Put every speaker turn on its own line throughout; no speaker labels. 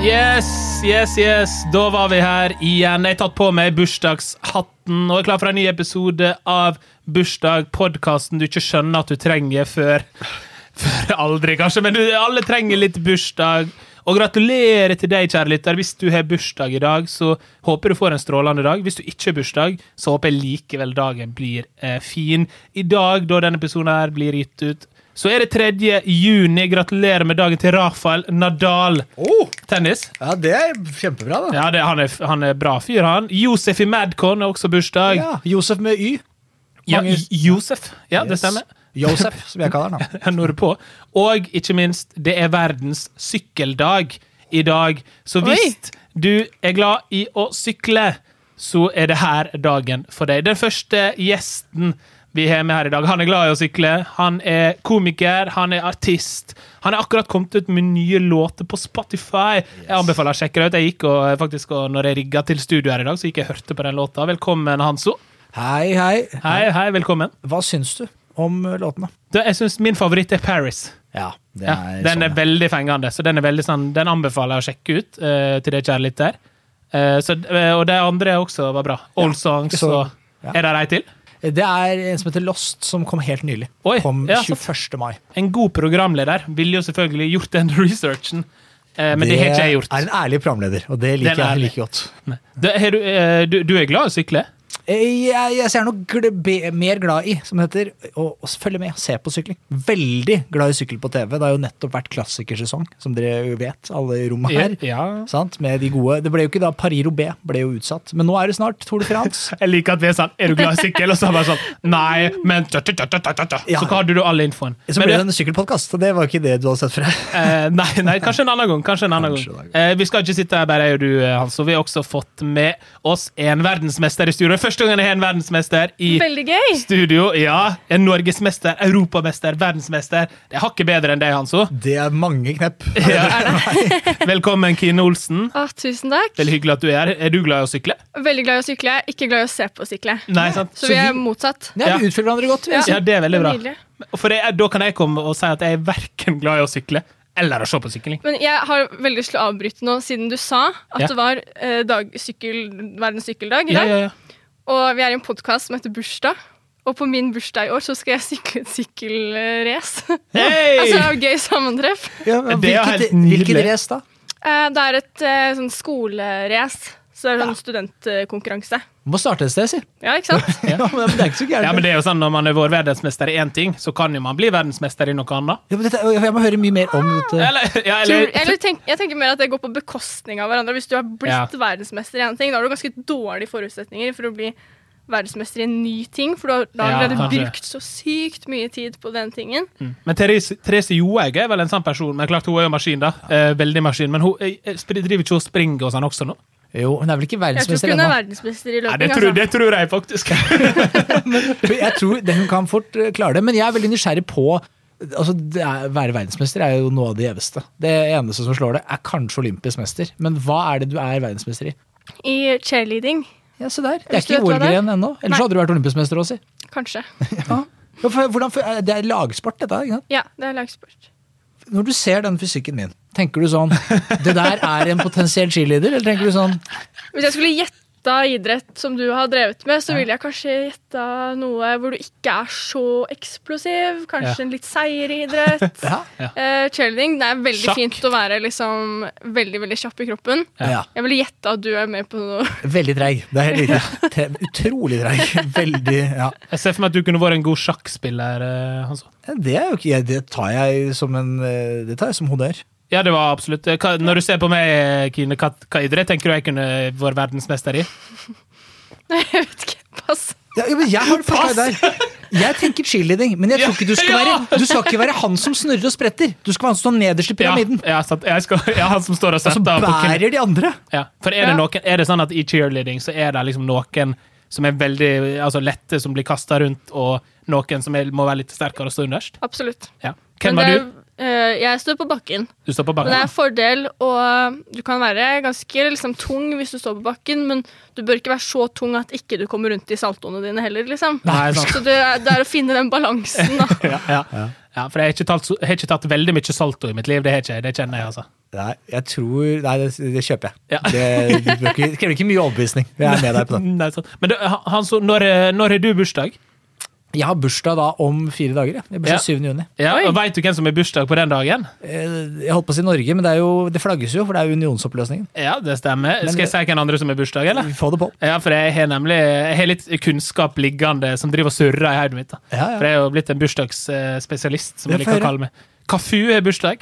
Yes, yes, yes. Da var vi her igjen. Jeg har tatt på meg bursdagshatten og er klar for en ny episode av Bursdag, podkasten du ikke skjønner at du trenger før Før aldri, kanskje, men du, alle trenger litt bursdag. Og gratulerer til deg, kjære lytter. Hvis du har bursdag i dag, så håper du får en strålende dag. Hvis du ikke har bursdag, så håper jeg likevel dagen blir eh, fin. I dag, da denne episoden her blir gitt ut, så er det 3. juni. Gratulerer med dagen til Rafael Nadal.
Oh,
Tennis?
ja, det er kjempebra, da.
Ja, det, han, er, han er bra fyr, han. Josef i Madcon har også bursdag. Ja,
Ja, Josef med Y. mange-
J- Josef. Ja, det
Yes.
stemmer.
Josef, som jeg kaller han. da.
Jeg når på. Og ikke minst, det er verdens sykkeldag i dag. Så hvis du er glad i å sykle, så er det her dagen for deg. Den første gjesten vi har med her i dag, han er glad i å sykle. Han er komiker, han er artist. Han er akkurat kommet ut med nye låter på Spotify. Jeg anbefaler å sjekke det ut. Jeg gikk og, eh, faktisk, og når jeg rigga til studio her i dag, så gikk jeg og hørte på den låta. Velkommen, Hanso.
Hei, hei.
Hei, hei, velkommen.
Hva syns du om eh, låtene?
Du, jeg syns min favoritt er Paris.
Ja, det
Ja, den er
sånn, ja.
veldig fengende, så den, er veldig, sånn, den anbefaler jeg å sjekke ut eh, til det kjære lytter. Eh, så, eh, og de andre også var bra. Old Songs
så-
og
ja.
Er det ei til?
Det er en som heter Lost, som kom helt nylig.
Oi,
kom
ja,
21. mai.
En god programleder ville jo selvfølgelig gjort den researchen, eh, men det, har ikke jeg gjort.
er en ærlig programleder, og det
Den
liker
er
jeg
ærlig.
like godt.
Det, har du, eh, du, du er glad i å sykle?
Eh, Jeg, jeg ser noe gle, be, mer glad i, som det heter, å, å følge med, se på sykling. Veldig glad i sykkel på TV. Det har jo nettopp vært klassikersesong, som dere jo vet, alle i rommet her.
Ja.
Sant? Med de gode. Det ble jo ikke da Paris-Roubais ble jo utsatt, men nå er det snart Tour de France.
Jeg liker at vi er sånn Er du glad i sykkel? Og så er det bare sånn Nei, men tja, tja, tja, tja, tja, tja.
Ja.
Så hadde du all infoen.
Så
Men
ble det
du-
en sykkelpodkast, og det var ikke det du hadde sett for deg.
Eh, nei, nei, kanskje en annen gang. Kanskje en annen
Kanskje
gang.
en annen
Eh, vi skal ikke sitte her bare jeg og du, eh, Hans. Og vi har også fått med oss en verdensmester i studio. Første gangen jeg har en verdensmester i
Veldig gøy!
studio. Ja, En norgesmester, europamester, verdensmester. Det er hakket bedre enn deg, Hanso.
Det er mange knepp.
Velkommen, Kine Olsen.
Ah, tusen takk.
Veldig hyggelig at du er her. Er du glad i å sykle?
Veldig glad i å sykle, ikke glad i å se på å sykle.
Nei, sant?
Så vi er motsatt.
Nei,
Ja.
Vi utfyller hverandre godt. vi.
Ja, det er veldig bra.
Nydelig.
For det er, da kan jeg komme og si at jeg er verken glad i å sykle eller å se på sykling.
Men jeg har veldig lyst til å avbryte nå, siden du sa at
Ja.
det var eh, dag, sykkel, verdens sykkeldag i
Ja,
dag.
ja, ja.
Og vi er i en podkast som heter Bursdag. Og på min bursdag i år så skal jeg sykle et sykkelrace. altså, det
Hey!
er jo gøy sammentreff.
Ja, men
Det er
hvilket-
helt nydelig.
Hvilket race, da?
Eh, det er et eh, sånn skolerace. Så det er sånn studentkonkurranse.
Må starte et sted, si.
Ja, ikke sant?
Ja, men det er ikke så gærent.
Ja, men det er jo sånn, Når man er vår verdensmester i én ting, så kan jo man bli verdensmester i noe annet.
Ja, men dette, jeg må høre mye mer om dette.
Eller, ja,
Tror,
eller,
eller tenk, jeg tenker mer at det går på bekostning av hverandre. Hvis du har blitt
Ja.
verdensmester i en ting, da har du ganske dårlige forutsetninger for å bli verdensmester i en ny ting, for du har da har
Ja,
allerede
kanskje.
brukt så sykt mye tid på den tingen.
men Therese, Therese Johaug er vel en sånn person. Men klart hun er jo maskin, da. Eh, veldig maskin. Men hun eh, spri- driver ikke og springer og sånn også nå?
Jo, hun er vel ikke
Jeg tror
verdensmester
ikke hun er
ennå.
verdensmester i
Nei, det
løping.
tror,
altså.
det tror jeg faktisk.
Jeg tror den kan fort eh, klare det, men jeg er veldig nysgjerrig på Altså, det er, Være verdensmester er jo noe av det gjeveste. Det eneste som slår det, er kanskje olympisk mester. Men hva er det du er verdensmester i?
I cheerleading,
Ja, se der. Det er
Hvis du
ikke
vet hva det er.
OL-gren ennå. Ellers
Nei.
hadde du vært olympisk mester også, si.
kanskje.
Ja. for, hvordan, for, det er lagsport, dette. her, Ikke sant?
Ja, det er lagsport.
Når du ser den fysikken min, tenker du sånn Det der er en potensiell cheerleader? Eller tenker du sånn
Hvis jeg skulle gjetta idrett som du har drevet med, så ville jeg kanskje gjetta noe hvor du ikke er så eksplosiv. Kanskje
Ja.
en litt seigere idrett.
Ja.
Eh, cheerleading, det er veldig
Sjakk.
fint å være liksom veldig, veldig kjapp i kroppen.
ja.
Jeg ville gjette at du er med på noe.
Veldig treig. Det er helt riktig. Tre- Utrolig treig. Veldig Ja.
Jeg ser for meg at du kunne vært en god sjakkspiller. eh, Hans.
Det, er jo ikke, jeg- det tar jeg som en eh, Det tar jeg som honnør.
Ja, det var absolutt. Eh, Hva, når du ser på meg, eh, Kine, hva, hva idrett tenker du jeg kunne vært verdensmester i?
Nei, jeg vet ikke. Pass.
Ja, ja, men jeg har det
Pass!
faktisk der. Jeg tenker cheerleading, men jeg tror ikke du skal
Ja.
være Du skal ikke være han som snurrer og spretter. Du skal være han som står nederst i
Ja,
pyramiden.
ja, sant. jeg skal, ja han som står og
Og så
setter på hvem-
bærer de andre.
Ja, for er det,
Ja.
noen, er det sånn at i cheerleading så er det liksom noen som er veldig altså lette, som blir kasta rundt, og noen som er, må være litt sterkere og stå underst?
Absolutt.
Ja. Hvem
Men
var
det
du? Ah,
er- Eh, jeg står på bakken.
Du står på
Men det er
bakken.
en fordel, og du kan være ganske liksom, tung hvis du står på bakken, men du bør ikke være så tung at ikke du kommer rundt i saltoene dine heller, liksom.
Nei, sant.
Så det er, det er å finne den balansen, da.
Ja, ja. ja, for jeg har ikke, talt, så- jeg har ikke tatt veldig mye salto i mitt liv. Det, har jeg ikke, det kjenner jeg, altså.
Nei, jeg tror Nei, det, det kjøper jeg.
Ja.
Det, det bør ikke- det krever ikke mye overbevisning. Jeg er med deg på det.
Mm, Nei, sant. Men du, Hans, O, når, eh, når har du bursdag?
Jeg har bursdag da om fire dager. Jeg, jeg
Ja.
bursdag 7. juni.
Ja,
Oi.
og Veit du hvem som har bursdag på den dagen?
Eh, Jeg holdt på å si Norge, men det, er jo, det flagges jo, for det er jo unionsoppløsningen.
Ja, det stemmer. Skal jeg si hvem andre som har bursdag, eller?
Vi får det på.
Ja, for jeg har nemlig jeg har litt kunnskap liggende som driver og surrer i hodet mitt. da.
Ja, ja.
For jeg er jo blitt en bursdagsspesialist, som jeg
Ja, få
liker å
høre.
kalle meg. Kafu har bursdag.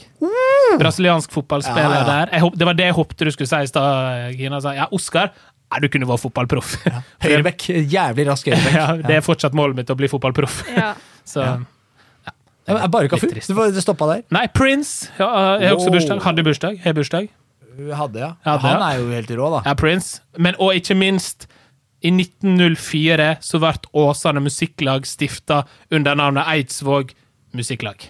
Brasiliansk fotballspiller
Ja, ja.
der. Jeg, håp- det var det jeg håpte du skulle si i stad, Gina. Sa, ja, Oskar, ja, du kunne vært fotballproff. For-
Høyrebekk. Jævlig rask høyrebekk.
ja, det er fortsatt målet mitt å bli fotballproff.
Ja.
Så
Ja, men Bare Kafu.
Litt trist.
Du får- du stoppa der.
Nei, Prince ja, jeg har også
Wow.
bursdag. Hadde bursdag. Har bursdag.
Du Hadde, ja.
Hadde,
Han
ja.
er jo helt rå, da.
Ja, Prince. Men og ikke minst, i 1904 så ble Åsane Musikklag stifta under navnet Eidsvåg Musikklag.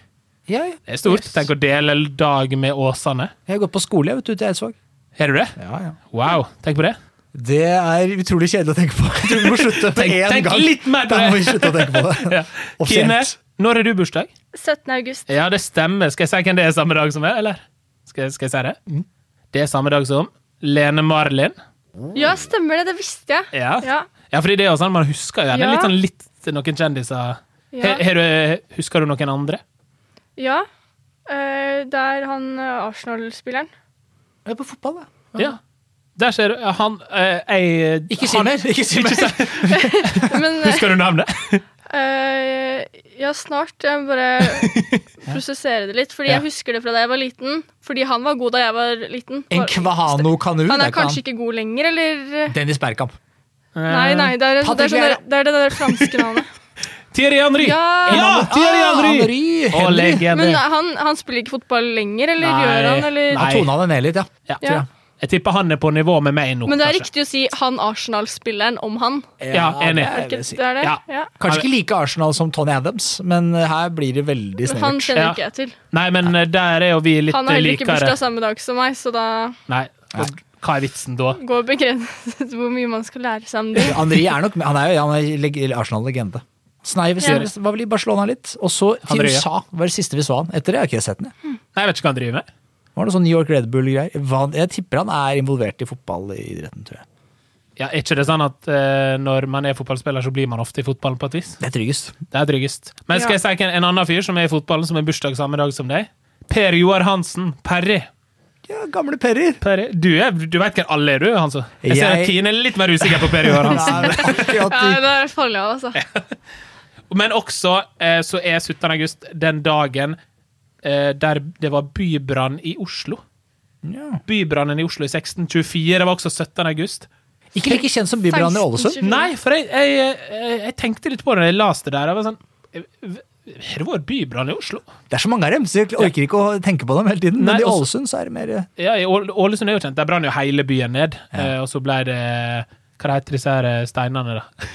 Ja, ja.
Det er stort.
Yes.
Tenk å dele dag med Åsane.
Jeg har gått på skole jeg, vet du, ute i Eidsvåg.
Har du det?
Ja, ja.
Wow, tenk på det.
Det er utrolig kjedelig å tenke på. Jeg tror vi må slutte med
Tenk,
én
tenk
gang.
litt mer på
Da må vi
det!
slutte å tenke på det.
Ja. Kine, når har du bursdag?
17. august.
Ja, det stemmer. Skal jeg si hvem det er samme dag som er, eller? Skal, skal jeg si det? Det er samme dag som Lene Marlin.
Ja, stemmer det, det visste jeg.
Ja,
Ja.
ja fordi det er jo sånn man husker jo. Det er
Ja.
litt sånn litt noen kjendiser.
Ja.
Her, her, eh, husker du noen andre?
ja. Eh, det er han eh, Arsenal-spilleren.
Jeg er på fotball, da.
Ja. Der ser du. Han eh, jeg,
Ikke si
han-
mer! Ikke si
Ikke
mer.
si-
Men eh,
Husker du navnet?
eh, ja, snart. Jeg må bare prosessere det litt. Fordi
Ja.
jeg husker det fra da jeg var liten. Fordi han var god da jeg var liten.
En
Var-
Kvahano kanu.
Han
det
er kanskje ikke god lenger, eller
Dennis Bergkamp.
Eh,
Nei, nei, det er det, er,
Eh, Patrick
sånn der,
Vieira.
det, er det der franske navnet.
Thierry Henry!
Ja!
ja Thierry
Ah,
Henry!
Henry,
Og
Henry.
legende.
Men han, han spiller ikke fotball lenger, eller
Nei.
gjør han?
Nei.
Eller?
Han tona det ned litt, ja.
Ja.
Ja.
tror jeg.
Jeg tipper han er på nivå med meg nå.
Men det er
kanskje.
riktig å si han Arsenal-spilleren om han.
Ja, enig.
det er
Er
det
ikke,
jeg sier.
det er det?
Ja.
Ja.
Kanskje ikke like Arsenal som Tony Adams, men her blir det veldig
Men han
snevert.
kjenner
Ja.
ikke jeg til.
Nei, men eh, der er jo vi litt
Han har heller ikke
likere.
bursdag samme dag som meg, så da
Nei. Og Hva er vitsen da?
går begrenset hvor mye man skal lære seg om det.
Henri er nok Han er jo han er leg- Arsenal-legende. Sneiv
Ja.
var vel i Barcelona litt, og så til
Henry, ja.
USA. var det siste vi så han. Etter det har ikke jeg sett den. jeg.
Nei, jeg vet ikke hva han driver med.
Var det sånn New York Red Bull-greier? Hva- Jeg tipper han er involvert i fotballidretten, tror jeg.
Ja, Er ikke det sånn at eh, når man er fotballspiller, så blir man ofte i fotballen på et vis?
Det er tryggest.
Det er tryggest. Men skal
Ja.
jeg si en, en annen fyr som er i fotballen, som har bursdag samme dag som deg? Per Joar Hansen. Perry.
Ja, gamle Perry.
Perry. Du, er, du vet hvem alle er, du, Hanso? Jeg, ser
Jeg-
at Kine er litt mer usikker på Per Joar Hansen.
Nei, akkurat
Ja,
i-
det er farlig av, altså.
Men også eh, så er 17. august den dagen eh, der det var bybrann i Oslo.
Ja.
Bybrannen i Oslo i 1624 var også 17. august.
Ikke like kjent som Bybrann i Ålesund.
1624.
Nei, for jeg, jeg, jeg, jeg tenkte litt på det da jeg leste det der. Jeg var sånn Har det vært bybrann i Oslo?
Det er så mange av dem, så jeg orker ikke å tenke på dem hele tiden. Men
Nei,
i
og
Ålesund så er det mer eh,
Ja, i Ål- Ålesund er jo kjent. Der brann jo hele byen ned. Eh, og så ble det Hva heter disse her eh, steinene, da?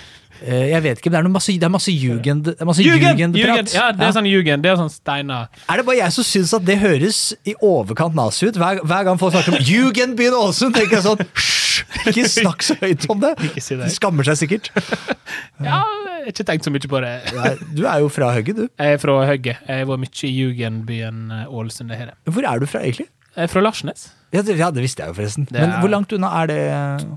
Eh, Jeg vet ikke, men det er, noe masse, det er masse jugend... Det er masse
Jugend!
jugendprat.
Ja, det er sånn jugend. Det er sånn steiner.
Er det bare jeg som syns at det høres i overkant nazi ut? Hver, hver gang folk snakker om Jugendbyen Ålesund, tenker jeg sånn Hysj! Ikke snakk så høyt om det!
Ikke si det.
De skammer seg sikkert.
Ja, jeg har ikke tenkt så mye på det.
Nei, Du er jo fra Høgget, du.
Jeg er fra Høgge. Jeg har vært mye i jugendbyen eh, Ålesund. det her.
Hvor er du fra, egentlig?
Jeg er fra Larsnes.
Ja, det, ja, det visste jeg jo, forresten.
Det er-
Men hvor langt unna er det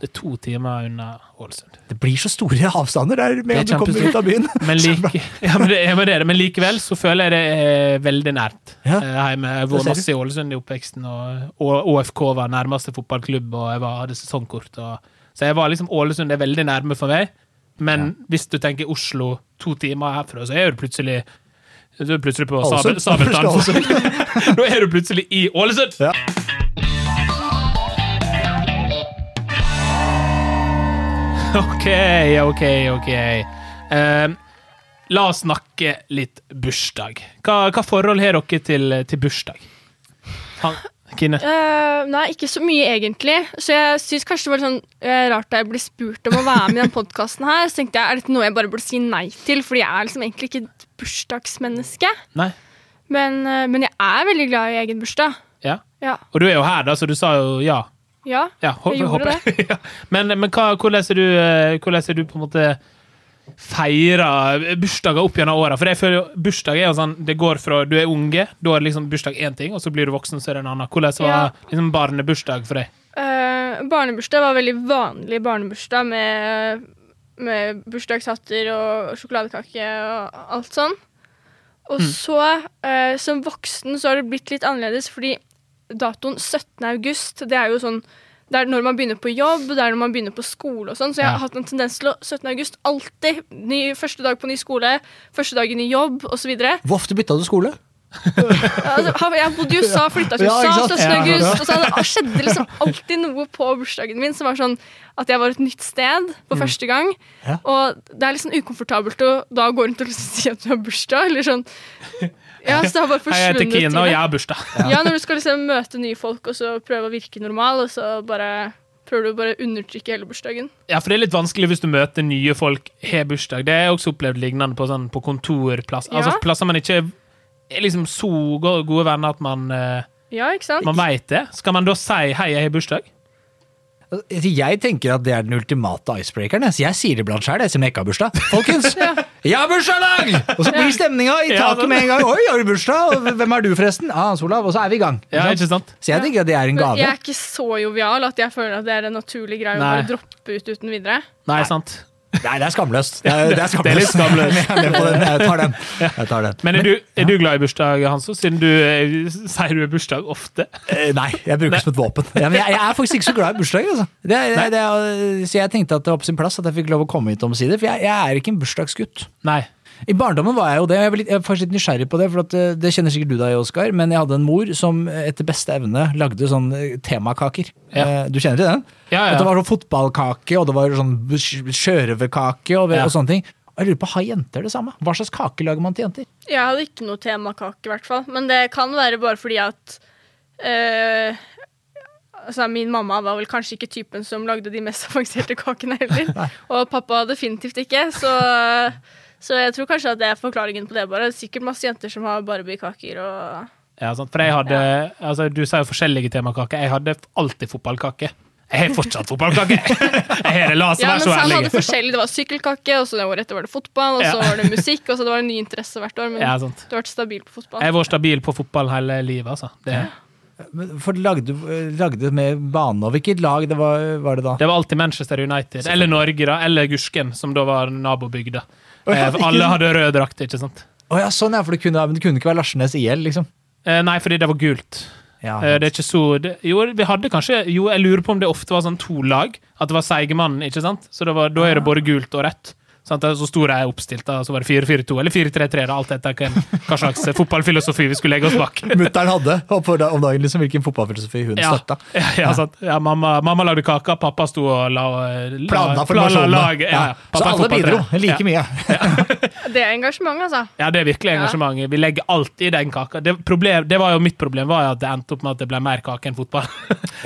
Det er to timer unna Ålesund.
Det blir så store avstander der med
Det er
at du kommer
kjempestort.
ut av byen.
Men, like, ja, men, det, ja, men, det, er det. men likevel så føler jeg det er veldig nært.
Ja.
Eh, hjemme. Jeg var
Det ser
masse i Ålesund i oppveksten, og og OFK var nærmeste fotballklubb, og jeg var, hadde sesongkort. Og, så jeg var liksom Ålesund er veldig nærme for meg. Men hvis du tenker Oslo to timer herfra, så er du plutselig så er du plutselig på Sabel-
Ålesund.
Sabeltann.
Ålesund.
Nå er du plutselig i Ålesund!
Ja.
OK, OK, OK. Eh, la oss snakke litt bursdag. Hva, hva forhold har dere til, til bursdag? Han, Kine?
Eh, nei, ikke så mye egentlig. Så jeg syns kanskje det var litt sånn eh, rart da jeg ble spurt om å være med i den podkasten her. Så tenkte jeg er dette noe jeg bare burde si nei til, fordi jeg er liksom egentlig ikke et bursdagsmenneske.
Nei?
Men, eh, men jeg er veldig glad i egen bursdag.
Ja.
Ja.
Og du er jo her, da, så du sa jo ja.
ja.
ja hå-
Jeg gjorde
håper jeg. ja. Men, men hva, hvordan, er du, eh, hvordan er du på en måte feirer bursdager opp gjennom åra? For jeg føler jo bursdag er jo sånn Det går fra du er unge, da er det liksom bursdag én ting, og så blir du voksen, så er det en annen. Hvordan var
Ja.
liksom barnebursdag for deg?
Eh, barnebursdag var veldig vanlig barnebursdag med, med bursdagshatter og sjokoladekake og alt sånn. Og så, eh, som voksen, så har det blitt litt annerledes, fordi datoen 17. august, det er jo sånn det er når man begynner på jobb, det er når man begynner på skole og sånn. Så jeg
Ja.
har hatt en tendens til å 17. august alltid. Ny, første dag på ny skole, første dag i ny jobb osv.
Hvor ofte bytta du skole?
Altså, han- jeg bodde i USA, flytta til
Ja, ikke
USA,
sant?
17.
Ja.
august. Og så hadde- og skjedde liksom alltid noe på bursdagen min som var sånn at jeg var et nytt sted for første gang.
Mm. Ja.
Og det er litt sånn ukomfortabelt å da gå rundt og liksom si at du har bursdag, eller sånn. Ja, så det har
Hei,
bare
jeg
forsvunnet.
heter
i
Kina, og
det.
jeg har bursdag.
ja, når du skal liksom møte nye folk og så prøve å virke normal, og så bare prøver du å bare undertrykke hele bursdagen.
Ja, for det er litt vanskelig hvis du møter nye folk har bursdag. Det har jeg også opplevd lignende på, sånn, på kontorplass.
Ja.
Altså plasser man ikke er liksom så go- gode venner at man, eh,
Ja, ikke sant?
man veit det. Skal man da si 'hei, jeg har bursdag'?
Altså, Jeg tenker at det er den ultimate icebreakeren. jeg. Så jeg sier det blant sjæl, jeg, som jeg ikke har bursdag. Folkens, jeg har bursdag i dag! Og så blir stemninga i
Ja,
taket med en gang. Oi, har du bursdag? Og hvem er du, forresten? Ah, Hans Olav. Og så er vi i gang.
Ja, ikke sant?
Så jeg tenker at det er en
Men jeg
gave.
er ikke så jovial at jeg føler at det er en naturlig greie å
Nei.
bare droppe ut uten videre.
Nei, sant.
Nei, det er skamløst. Det er, det er
Det er litt
skamløst.
skamløst.
Jeg er med på den. Jeg tar den. Jeg tar den.
Men er du, er du glad i bursdag, Hanso, siden du eh, sier du har bursdag ofte?
Eh, Nei, jeg bruker det som et våpen. Ja, men jeg, jeg er faktisk ikke så glad i bursdager. Altså. Det, er- det, er- så jeg tenkte at det var på sin plass at jeg fikk lov å komme hit omsider, for jeg, jeg er ikke en bursdagsgutt.
Nei.
I barndommen var jeg jo det, og jeg var, litt, jeg var faktisk litt nysgjerrig på det, for at, eh, det kjenner sikkert du deg, Oskar, men jeg hadde en mor som eh, etter beste evne lagde sånn eh, temakaker.
Ja.
Eh, Du kjenner til den?
Ja, ja.
At det var sånn fotballkake, og det var sånn b- sj- sjørøverkake og,
Ja.
og sånne ting. Og jeg lurer på, Har jenter det samme? Hva slags kake lager man til jenter?
Jeg hadde ikke noe temakake, i hvert fall. Men det kan være bare fordi at eh, altså Min mamma var vel kanskje ikke typen som lagde de mest avanserte kakene heller. Og pappa definitivt ikke. Så, så jeg tror kanskje at det er forklaringen på det. bare. Det er Sikkert masse jenter som har Barbie-kaker og
Ja, sant. For jeg hadde altså, Du sa jo forskjellige temakaker. Jeg hadde alltid fotballkake. Jeg har fortsatt fotballkake! Jeg har det, la oss
Ja,
være
men
så
Sam hadde
ærlige.
forskjellig. Det var sykkelkake, og så det året etter var det fotball, og så
Ja.
var det musikk, og så det var en ny interesse hvert år. Men
Ja, sant.
du har vært stabil på fotball.
Jeg har vært stabil på fotball hele livet, altså. Det,
Men For lagde, eh, lagde med bane over hvilket lag det var, var det da?
det var alltid Manchester United. Eller Norge, da. Eller Gursken, som da var nabobygda. Eh, for Alle hadde rød drakt, ikke sant?
Å ja, sånn ja, for det kunne, men det kunne ikke være Larsenes IL, liksom.
Eh, Nei, fordi det var gult.
Ja,
Eh, Det er ikke så det, Jo, vi hadde kanskje Jo, jeg lurer på om det ofte var sånn to lag. At det var Seigemann, ikke sant? Så det var, da
Ah.
er det både gult og rødt. Sant? Og Så store er oppstilt, da. Så var det 4-4-2 eller 4-3-3, da, alt etter hva, hva slags eh, fotballfilosofi vi skulle legge oss bak.
Mutter'n hadde om dagen liksom, hvilken fotballfilosofi hun
Ja,
støtta.
ja, ja, sant. ja mamma, mamma lagde kaka, pappa sto og la, eh, la
Planla
planla
formasjonene.
laget. Ja, ja.
Så
Pappa er
alle bidro
fotballtrener.
like
ja.
mye.
Det er engasjement, altså.
Ja, det er virkelig engasjement. Vi legger alltid i den kaka. Det, problem, det var jo mitt problem var jo at det endte opp med at det ble mer kake enn fotball.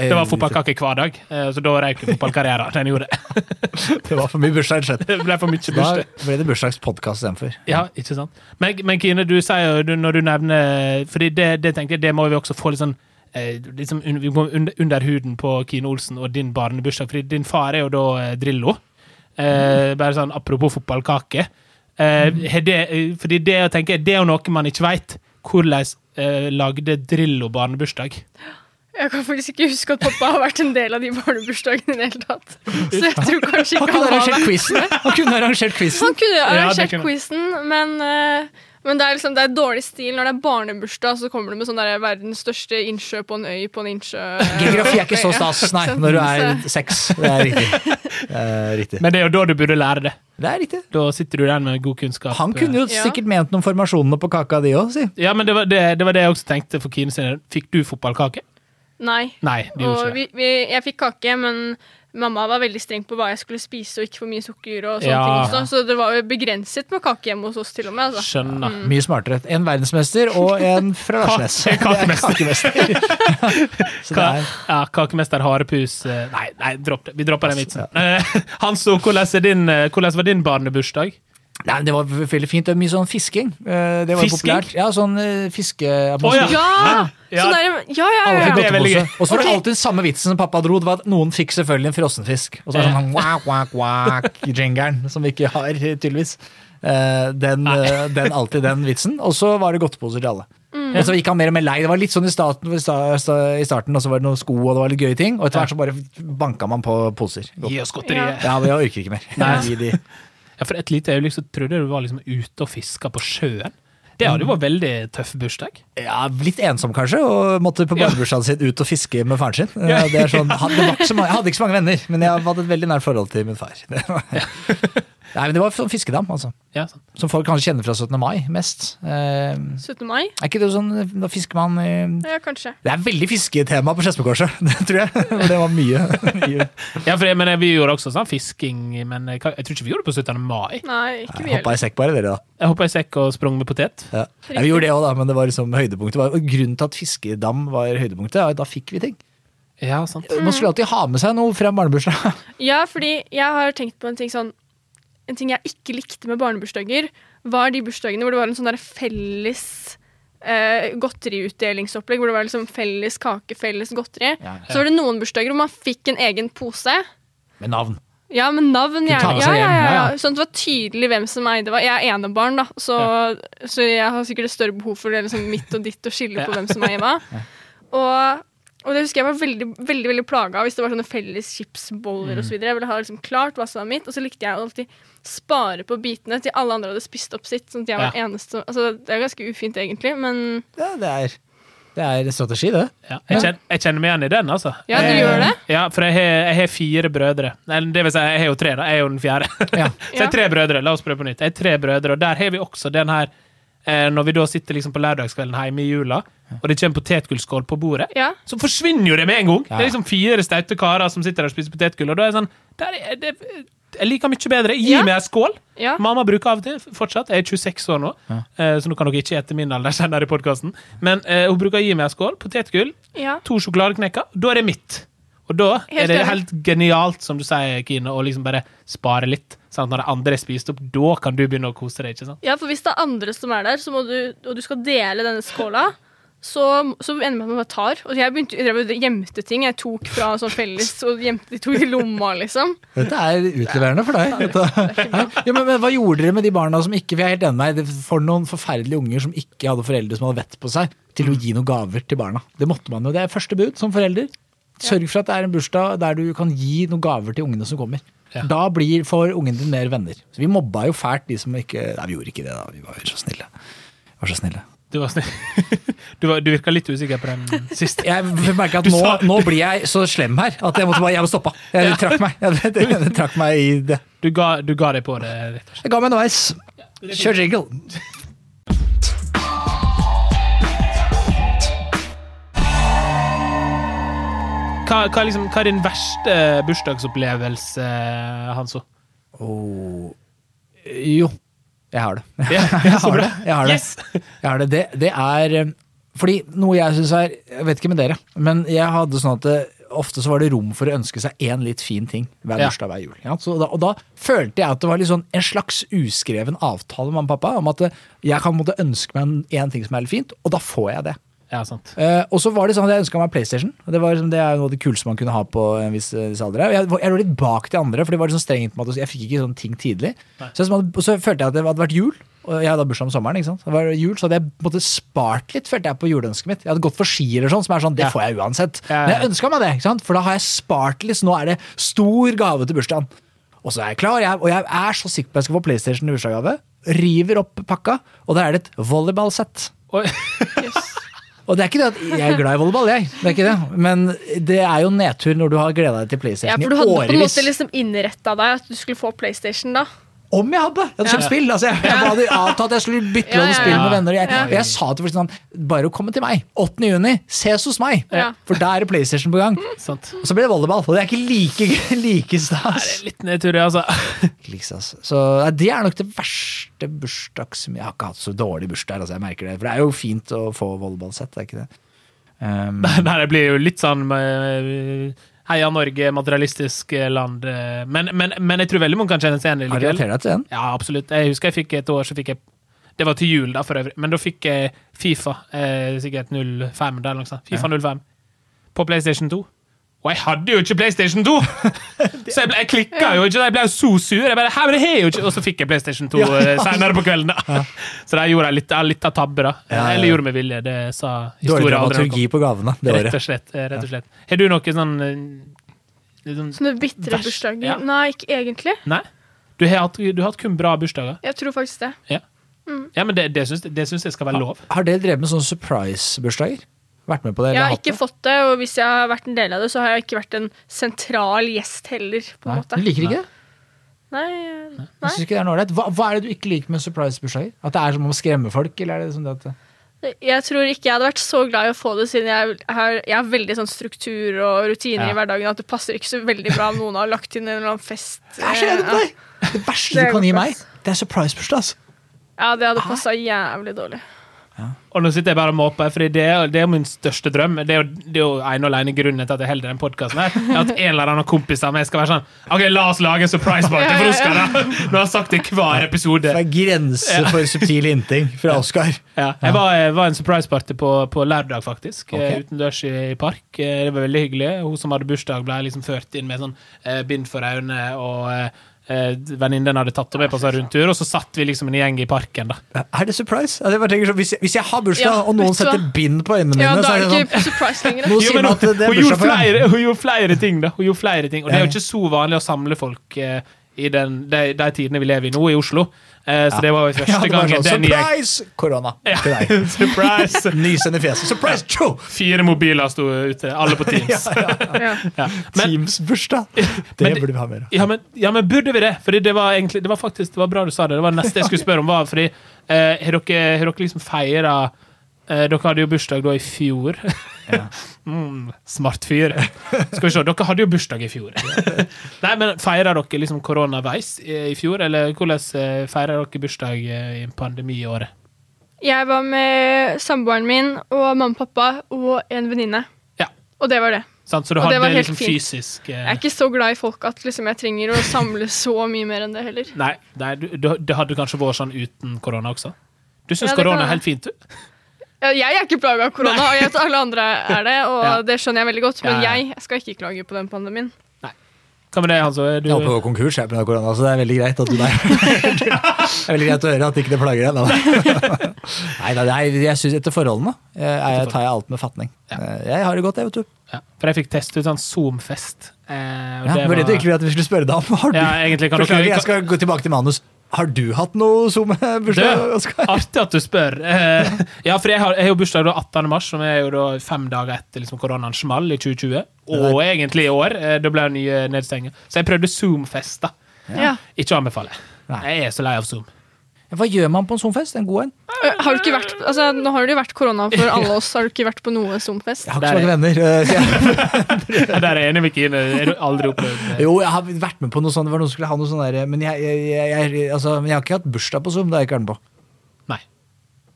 Det var fotballkake hver dag, eh, så da røyk fotballkarrieren. Den gjorde det.
Det var for mye bursdag rett og slett.
Det ble for mye
Da
bursdag.
ble det bursdagspodkast istedenfor.
Ja, ikke sant. Men, men Kine, du sier jo du- når du nevner Fordi det, det tenker jeg, det må vi også få litt sånn eh, liksom un, Vi må under, under huden på Kine Olsen og din barnebursdag, fordi din far er jo da eh, Drillo. Eh, bare sånn apropos fotballkake. Eh,
Mm.
har det, eh, fordi det, å tenke, det er jo noe man ikke veit. Hvordan eh, lagde Drillo barnebursdag?
Jeg kan faktisk ikke huske at pappa har vært en del av de barnebursdagene i det hele tatt. Så jeg tror kanskje
Han kunne
ikke han har
arrangert
det.
quizen! Han kunne arrangert quizen.
Han kunne
Ja, det
arrangert
kunne-
quizen, men, eh, men det, er liksom, det er dårlig stil. Når det er barnebursdag, så kommer du med sånn der verdens største innsjø på en øy på en innsjø.
Geografi er ikke så stas, nei, når du er seks. Det er riktig. Det er riktig.
Men det er jo da du burde lære det.
Det er riktig.
Da sitter du der med god kunnskap.
Han kunne jo
Ja.
sikkert ment noen formasjonene på kaka di òg, si.
Ja, men det var det, det var det jeg også tenkte for Kine sin. Fikk du fotballkake?
Nei.
Nei, det gjorde
Og
ikke det.
vi, vi, jeg fikk kake, men mamma var veldig streng på hva jeg skulle spise, og ikke for mye sukker og sånne
Ja.
ting også, så det var jo begrenset med kake hjemme hos oss til og med. Altså.
Skjønner.
Mye smartere. En verdensmester og en fra Larsnes.
Kake- kakemester.
Det er kakemester. Så det
Ka
er
ja, kakemester Harepus eh, Nei, nei dropp det. vi dropper den vitsen. Eh, Hanso, hvordan, er din, eh, hvordan var din barnebursdag?
Nei, men Det var veldig fint. Det var mye sånn fisking. Eh, Det var jo
Fisking?
populært. Ja, sånn eh,
Å,
fiskeatmosfære.
Ja.
Ja!
Ja.
Sånn der, ja, ja,
Alle
ja,
fikk
Det
ja.
er veldig
godtepose.
gøy.
Og så var det
Ok.
alltid den samme vitsen som pappa dro. Det var at Noen fikk selvfølgelig en frossenfisk. Og så var det sånn wak, wak, wak i jingeren, som vi ikke har, tydeligvis. Eh, Den, eh, den alltid den vitsen. Og så var det godteposer til alle. Og så gikk han mer og mer lei. Det var litt sånn i starten, i sta- sta- i starten og så var det noen sko og det var litt gøye ting. Og etter hvert så bare banka man på poser.
Gi oss godteriet.
Ja, men jeg orker ikke mer.
Nei.
Gi de.
Ja, for et lite øyeblikk så trodde jeg du var liksom ute og fiska på sjøen. Det hadde jo vært veldig tøff bursdag.
Ja, Litt ensom, kanskje, og måtte på
Ja.
barnebursdagen sin ut og fiske med faren sin. Eh, Det er sånn, han- det var ikke så mange, jeg hadde ikke så mange venner, men jeg hadde et veldig nært forhold til min far. Det var, Nei, men det var sånn fiskedam, altså.
Ja, sånn.
Som folk kanskje kjenner fra 17. mai mest. Eh,
17. mai?
er ikke det sånn da fisker man i
Ja, kanskje.
Det er veldig fisketema på Skedsmokorset, det tror jeg. For det var mye. mye.
ja for jeg, men jeg- vi gjorde også sånn fisking, men jeg, kan- jeg tror ikke vi gjorde det på 17. mai.
Nei, ikke vi
Hoppa i
heller.
sekk bare, dere, da.
Jeg hoppa i sekk og sprang med potet.
Ja. Ja, vi gjorde det òg, da, men det var liksom høydepunktet. var- Og grunnen til at fiskedam var høydepunktet, er at da fikk vi ting.
Ja, sant.
Man skulle alltid ha med seg noe fra en barnebursdag.
Ja, fordi jeg har tenkt på en ting sånn En ting jeg ikke likte med barnebursdager, var de bursdagene hvor det var en sånn der felles eh, godteriutdelingsopplegg. Hvor det var liksom felles kake, felles godteri.
Ja.
Så var det noen bursdager hvor man fikk en egen pose.
Med navn.
Ja, men navn
Du tar med
gjerne. Ja,
seg
ja,
hjem,
ja,
ja, ja.
ja. Sånn at det var tydelig hvem som eide hva. Jeg er enebarn, da, så, så jeg har sikkert et større behov for det liksom mitt og ditt å skille på hvem som eier hva. Og, og det husker jeg var veldig veldig, veldig plaga av hvis det var sånne felles chipsboller
Mm.
og så videre. Jeg ville ha liksom klart hva som var mitt, og så likte jeg å alltid spare på bitene til alle andre hadde spist opp sitt. sånn at jeg var
Ja.
eneste. Altså, det er ganske ufint, egentlig, men
Ja, det er, det er en strategi, det.
Ja, jeg, kjenner, jeg kjenner meg igjen i den, altså.
Ja, du
Eh,
gjør det?
Ja, for jeg har, jeg har fire brødre. Nei, det vil si, jeg har jo tre, da. Jeg er jo den fjerde.
Ja.
Så jeg har tre brødre. La oss prøve på nytt. Jeg har tre brødre, og der har vi også den her eh, Når vi da sitter liksom på lørdagskvelden hjemme i jula, og det kommer potetgullskål på bordet,
ja.
så forsvinner jo det med en gang!
Ja.
Det er liksom fire staute karer som sitter der og spiser potetgull, og da er jeg sånn der er det, Jeg liker mye bedre. Gi
Ja.
meg en skål!
ja.
Mamma bruker av og til fortsatt. Jeg er 26 år nå, eh, så nå kan dere ikke ete min alder senere i podkasten. Men eh, hun bruker å gi meg en skål potetgull,
ja.
to sjokoladeknekker, da er det mitt. Og da
Helt
er det
enig.
helt genialt, som du sier, Kine, å liksom bare spare litt. Sånn at når de andre er spist opp, da kan du begynne å kose deg. ikke sant?
Ja, for hvis det er andre som er der, så må du, og du skal dele denne skåla, så, så ender det med at man bare tar. Og jeg begynte jeg drev og gjemte ting. Jeg tok fra sånn felles og gjemte de to i lomma, liksom.
Dette er utleverende for deg. Dette. Ja, men, men Hva gjorde dere med de barna som ikke For jeg er helt enig med deg, det- for noen forferdelige unger som ikke hadde foreldre som hadde vett på seg til å gi noen gaver til barna. Det måtte man jo. Det er første bud som forelder. Sørg for at det er en bursdag der du kan gi noen gaver til ungene som kommer.
Ja.
Da blir får ungen din mer venner. Så vi mobba jo fælt de som ikke Nei, vi gjorde ikke det, da. Vi var jo så snille. Vi Var så snille.
Du var snill. Du, var, du virka litt usikker på den siste.
Jeg merker at
Du
nå,
sa-
nå blir jeg så slem her at jeg måtte bare Jeg må stoppe. Jeg trakk meg. Jeg, jeg, trakk meg i det.
Du ga, du ga deg på det, rett og slett.
Jeg ga meg underveis. Kjør jingle.
Hva, hva, liksom, hva er din verste eh, bursdagsopplevelse, Hanso?
Oh. Jo, jeg har det.
Ja,
Jeg
så
har
bra.
det. Jeg har det.
Yes!
Jeg har det. Det, det er eh, Fordi noe jeg syns er Jeg vet ikke med dere, men jeg hadde sånn at det, ofte så var det rom for å ønske seg én litt fin ting hver
Ja.
bursdag, hver jul. Ja, så da, og da følte jeg at det var litt sånn en slags uskreven avtale med mamma og pappa om at eh, jeg kan måtte ønske meg én ting som er litt fint, og da får jeg det.
Ja, sant.
Eh, og så var det sånn at jeg ønska meg PlayStation. Og det, var, liksom- det er jo noe av det kuleste man kunne ha på en viss, eh, viss alder. Og Jeg, var- jeg lå litt bak de andre, for de var liksom strengt med at jeg fikk ikke sånne ting tidlig. Så, jeg, og så følte jeg at det hadde vært jul, og jeg hadde bursdag om sommeren. Ikke sant? Så det var jul, så hadde jeg på en måte spart litt, følte jeg, på juleønsket mitt. Jeg hadde gått for ski eller sånn, som er sånn, det
Ja.
får jeg uansett.
Ja, ja, ja.
Men jeg ønska meg det, ikke sant? for da har jeg spart litt, så nå er det stor gave til bursdagen. Og så er jeg klar, jeg, og jeg er så sikker på at jeg skal få PlayStation i bursdagsgave. River opp pakka, og der er det et volleyballsett.
Oi.
Yes.
Og det er ikke det at jeg er glad i volleyball, jeg. Det er ikke det. Men det er jo nedtur når du har gleda deg til
Ja,
PlayStation
for du
i
hadde på en
årevis.
måte liksom innretta deg at du skulle få PlayStation, da.
Om jeg hadde! Jeg hadde kjøpt spill. Altså, jeg, jeg hadde avtalt jeg skulle bytte
Ja,
lån
ja,
spill med
ja.
venner. Og jeg,
Ja.
og jeg sa til folk sånn Bare å komme til meg. 8. juni, ses hos meg!
Ja.
For da er det PlayStation på gang.
Sant.
Og så ble det volleyball. Og det er ikke like, like stas.
Litt nedtur, ja, altså.
Ikke like stas. Så nei, det er nok det verste bursdags... Jeg har ikke hatt så dårlig bursdag, altså, jeg merker det. For det er jo fint å få volleyballsett, det er ikke det? Um,
Nei, det blir jo litt sånn eh, Heia Norge, materialistisk eh, land. eh, Men, men, men jeg tror veldig mange kan kjenne seg igjen. i
Har du
likevel.
relatert deg til den?
Ja, absolutt. Jeg husker jeg fikk et år, så fikk jeg Det var til jul, da, for øvrig. Men da fikk jeg Fifa. Eh, sikkert 05 der, eller noe sånt. Fifa 05. På PlayStation 2. Og jeg hadde jo ikke PlayStation 2! så jeg, ble, jeg klikka jo ikke. da. Jeg ble jo så sur. Jeg bare, Her, men det har jeg jo ikke. Og så fikk jeg PlayStation 2
Ja, ja.
eh, senere på kvelden. da. Så der gjorde jeg litt, jeg litt av tabbe, da.
Ja, ja.
Eller gjorde med vilje. Det sa
Dårlig
historien aldri noe om.
dramaturgi på gavene det
Rett og
året.
slett. eh, Rett og slett. Har du noe sånn eh, litt sånn-
Sånne bitre
Vers-
bursdager.
ja.
Nei, ikke egentlig.
Nei? Du har hatt, du har hatt kun bra bursdager?
Jeg tror faktisk det.
Ja, men det, det, syns, det syns jeg skal være lov.
Har dere drevet med sånne surprise-bursdager? Vært med på det?
Jeg
eller
har
hatt
ikke
det?
fått det, og hvis jeg har vært en del av det, så har jeg ikke vært en sentral gjest heller. på en
Nei,
måte.
Du liker ikke det?
Nei, eh,
Jeg synes ikke det er noe ålreit. Hva, hva er det du ikke liker med surprise-bursdager? At det er som om å skremme folk? Eller er det sånn at
Jeg tror ikke jeg hadde vært så glad i å få det, siden jeg har, jeg har veldig sånn struktur og
Ja.
rutiner i hverdagen. At det passer ikke så veldig bra om noen har lagt inn en eller annen fest. Eh,
Jeg er så enig med
Ja.
deg! Det verste
Det
du
er
kan gi
godt,
meg,
ass.
det er surprise-bursdag. ass.
Ja, det hadde passa jævlig dårlig.
Og nå sitter jeg bare og måper, for det, er- det er min største drøm. Det er jo, det er jo ene og alene grunnen til at jeg holder den podkasten her. er At en eller annen kompis av meg skal være sånn OK, la oss lage en surprise party for Oskar! da!» Nå har jeg sagt det i hver episode.
Det er grenser for subtil inting fra Oskar.
Ja, jeg var, jeg var i en surprise party på, på lørdag, faktisk.
Ok.
eh, Utendørs i, i park. Eh, Det var veldig hyggelig. Hun som hadde bursdag, ble liksom ført inn med sånn eh, bind for øynene, og eh, eh, venninnen hadde tatt henne med på seg rundtur, og så satt vi liksom en gjeng i parken, da.
Er det surprise? Altså, jeg bare tenker sånn, hvis, jeg, hvis jeg har bursdag,
Ja,
og noen
vet du
setter
hva?
bind på øynene mine,
Ja,
så er
da er
det
det
sånn
ikke surprise lenger. da.
Nå
Jo,
sier
men
man
hun,
at det er
hun, gjorde
bursdag for deg.
flere, hun gjorde flere ting, da. Hun gjorde flere ting. Og det er
Ja,
jo
ja.
ikke så vanlig å samle folk eh, i den, de, de tidene vi lever i nå, i Oslo. Eh, så det var jo
Ja,
første
det var
gangen
sånn,
den gikk.
surprise! Korona til deg.
Surprise!
Nysende fjeset. Surprise! Tjo!
Fire mobiler sto ute, alle på Teams.
Ja.
Ja. Men,
Teams-bursdag. Det
Men det-
burde vi ha mer av.
ja, men, ja, men burde vi det? Fordi det var egentlig, det var faktisk det var bra du sa det. Det var det neste jeg skulle spørre om. Var, fordi eh, Har dere, har dere liksom feira eh, Dere hadde jo bursdag da i fjor. mm, smart fyr. Skal vi se, dere hadde jo bursdag i fjor. Nei, men Feira dere liksom koronaveis i, i fjor, eller hvordan eh, feira dere bursdag eh, i pandemiåret?
Jeg var med samboeren min og mamma og pappa og en venninne.
Ja.
Og det var det.
Sant? Så du
Og det
hadde
var helt
liksom
fint.
fysisk eh,
Jeg er ikke så glad i folk at liksom, jeg trenger å samle så mye mer enn det heller.
Nei, nei du, du, det hadde kanskje vært sånn uten korona også? Du syns
Ja, det
korona
kan
er helt fint, du?
Ja, Jeg er ikke plaga av korona, og jeg vet alle andre er det. Og
Ja.
det skjønner jeg veldig godt, men
Ja, ja.
jeg skal ikke klage på den pandemien.
Hva med det, Hans Åge? Du-
Jeg holdt på å gå konkurs jeg, på grunn av korona, så det er veldig greit at du der. det er veldig greit å høre at ikke det plager deg. Nei, nei, nei, nei jeg synes etter forholdene eh, er jeg, tar jeg alt med fatning. Eh, Jeg har det godt, jeg, vet du.
Ja, for jeg fikk teste ut sånn Zoom-fest. Eh, og
Ja, det var det du egentlig ville at vi skulle spørre deg om. Har du,
Ja, egentlig kan
Beklager,
dere
jeg skal gå tilbake til manus. Har du hatt noe Zoom-bursdag?
Død.
Oskar?
Artig at du spør. Eh, ja, for jeg har, jeg har jo bursdag da 18. mars, som er jo da fem dager etter liksom, koronaen small i 2020. Og egentlig i år. Eh, da ble det nye nedstenginger. Så jeg prøvde Zoom-fest, da.
Ja.
Ikke å anbefale.
Nei.
Jeg er så lei av Zoom.
Hva gjør man på en Zoom-fest? En god en?
Øh, Har du ikke vært, altså, nå har det jo vært korona for alle oss. Har du ikke vært på noe Zoom-fest?
Jeg har
Der
ikke
er-
så mange venner. eh, så jeg
Ja, Der er jeg enig med Kine. Jeg har aldri opplevd det.
Jo, jeg har vært med på noe sånt. Det var noen som skulle ha noe sånn der, men jeg, jeg, jeg, jeg, altså, men jeg har ikke hatt bursdag på Zoom. Det har jeg ikke vært med på.
Nei.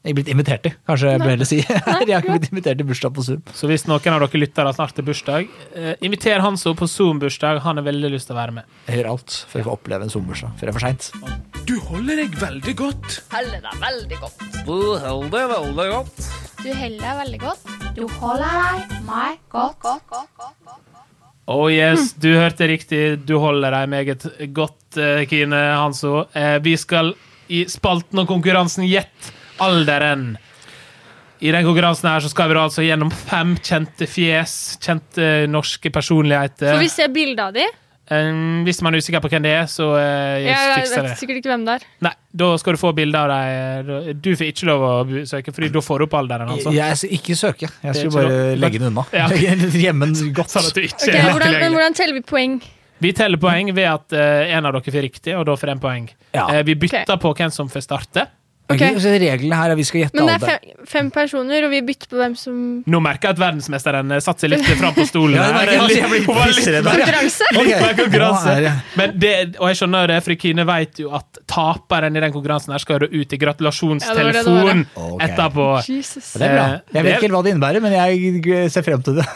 Jeg er blitt invitert til, kanskje jeg bør heller si. jeg har ikke blitt invitert til bursdag på Zoom.
Så hvis noen av dere lyttere snart er bursdag, eh, inviter Hanso på Zoom-bursdag. Han har veldig lyst til å være med.
Jeg gjør alt for å få oppleve en Zoom-bursdag før det er for seint.
Du holder deg veldig godt.
Heller deg veldig godt.
Du holder deg veldig godt.
Du heller deg veldig godt. Du holder deg meg godt.
Oh
Hmm.
yes, du hørte riktig. Du holder deg meget godt, eh, Kine Hanso. Eh, Vi skal i spalten og konkurransen Gjett alderen. I den konkurransen her så skal vi da altså gjennom fem kjente fjes, kjente norske personligheter.
Får vi se bilde av de?
Eh, hvis man er usikker på hvem det er, så eh,
Jeg
fikser
vet
det.
sikkert ikke hvem det er.
Nei, Da skal du få bilde av dem. Du får ikke lov å bu- søke, Fordi da får du opp alderen. altså.
Jeg skal ikke søke. Jeg
Det er
skal
ikke
bare
lov.
legge den unna.
Ja.
Legge den Hjemme godt.
Sånn at du ikke
Ok,
er lett
hvordan,
tilgjengelig.
men hvordan teller vi poeng?
Vi teller poeng ved at eh, en av dere får riktig, og da får en poeng.
Ja.
Eh, vi bytter på hvem som får starte.
Ok.
Ok, så reglene her er vi skal gjette
Men det er
alder.
fem, fem personer, og vi bytter på hvem som
Nå merker jeg at verdensmesteren eh, satte seg litt fram på stolen.
Ja,
her.
jeg merker at jeg blir
Hun var litt-
pissredd.
konkurranse.
Ok,
Litt mer konkurranse.
nå er jeg-
Men det, og jeg skjønner det, for Kine vet jo at taperen i den konkurransen her skal jo ut i
Ja, det var
gratulasjonstelefon
det
var.
etterpå.
Jesus.
Det er bra.
Eh,
Jeg
det-
vet ikke helt hva det innebærer, men jeg ser frem til det.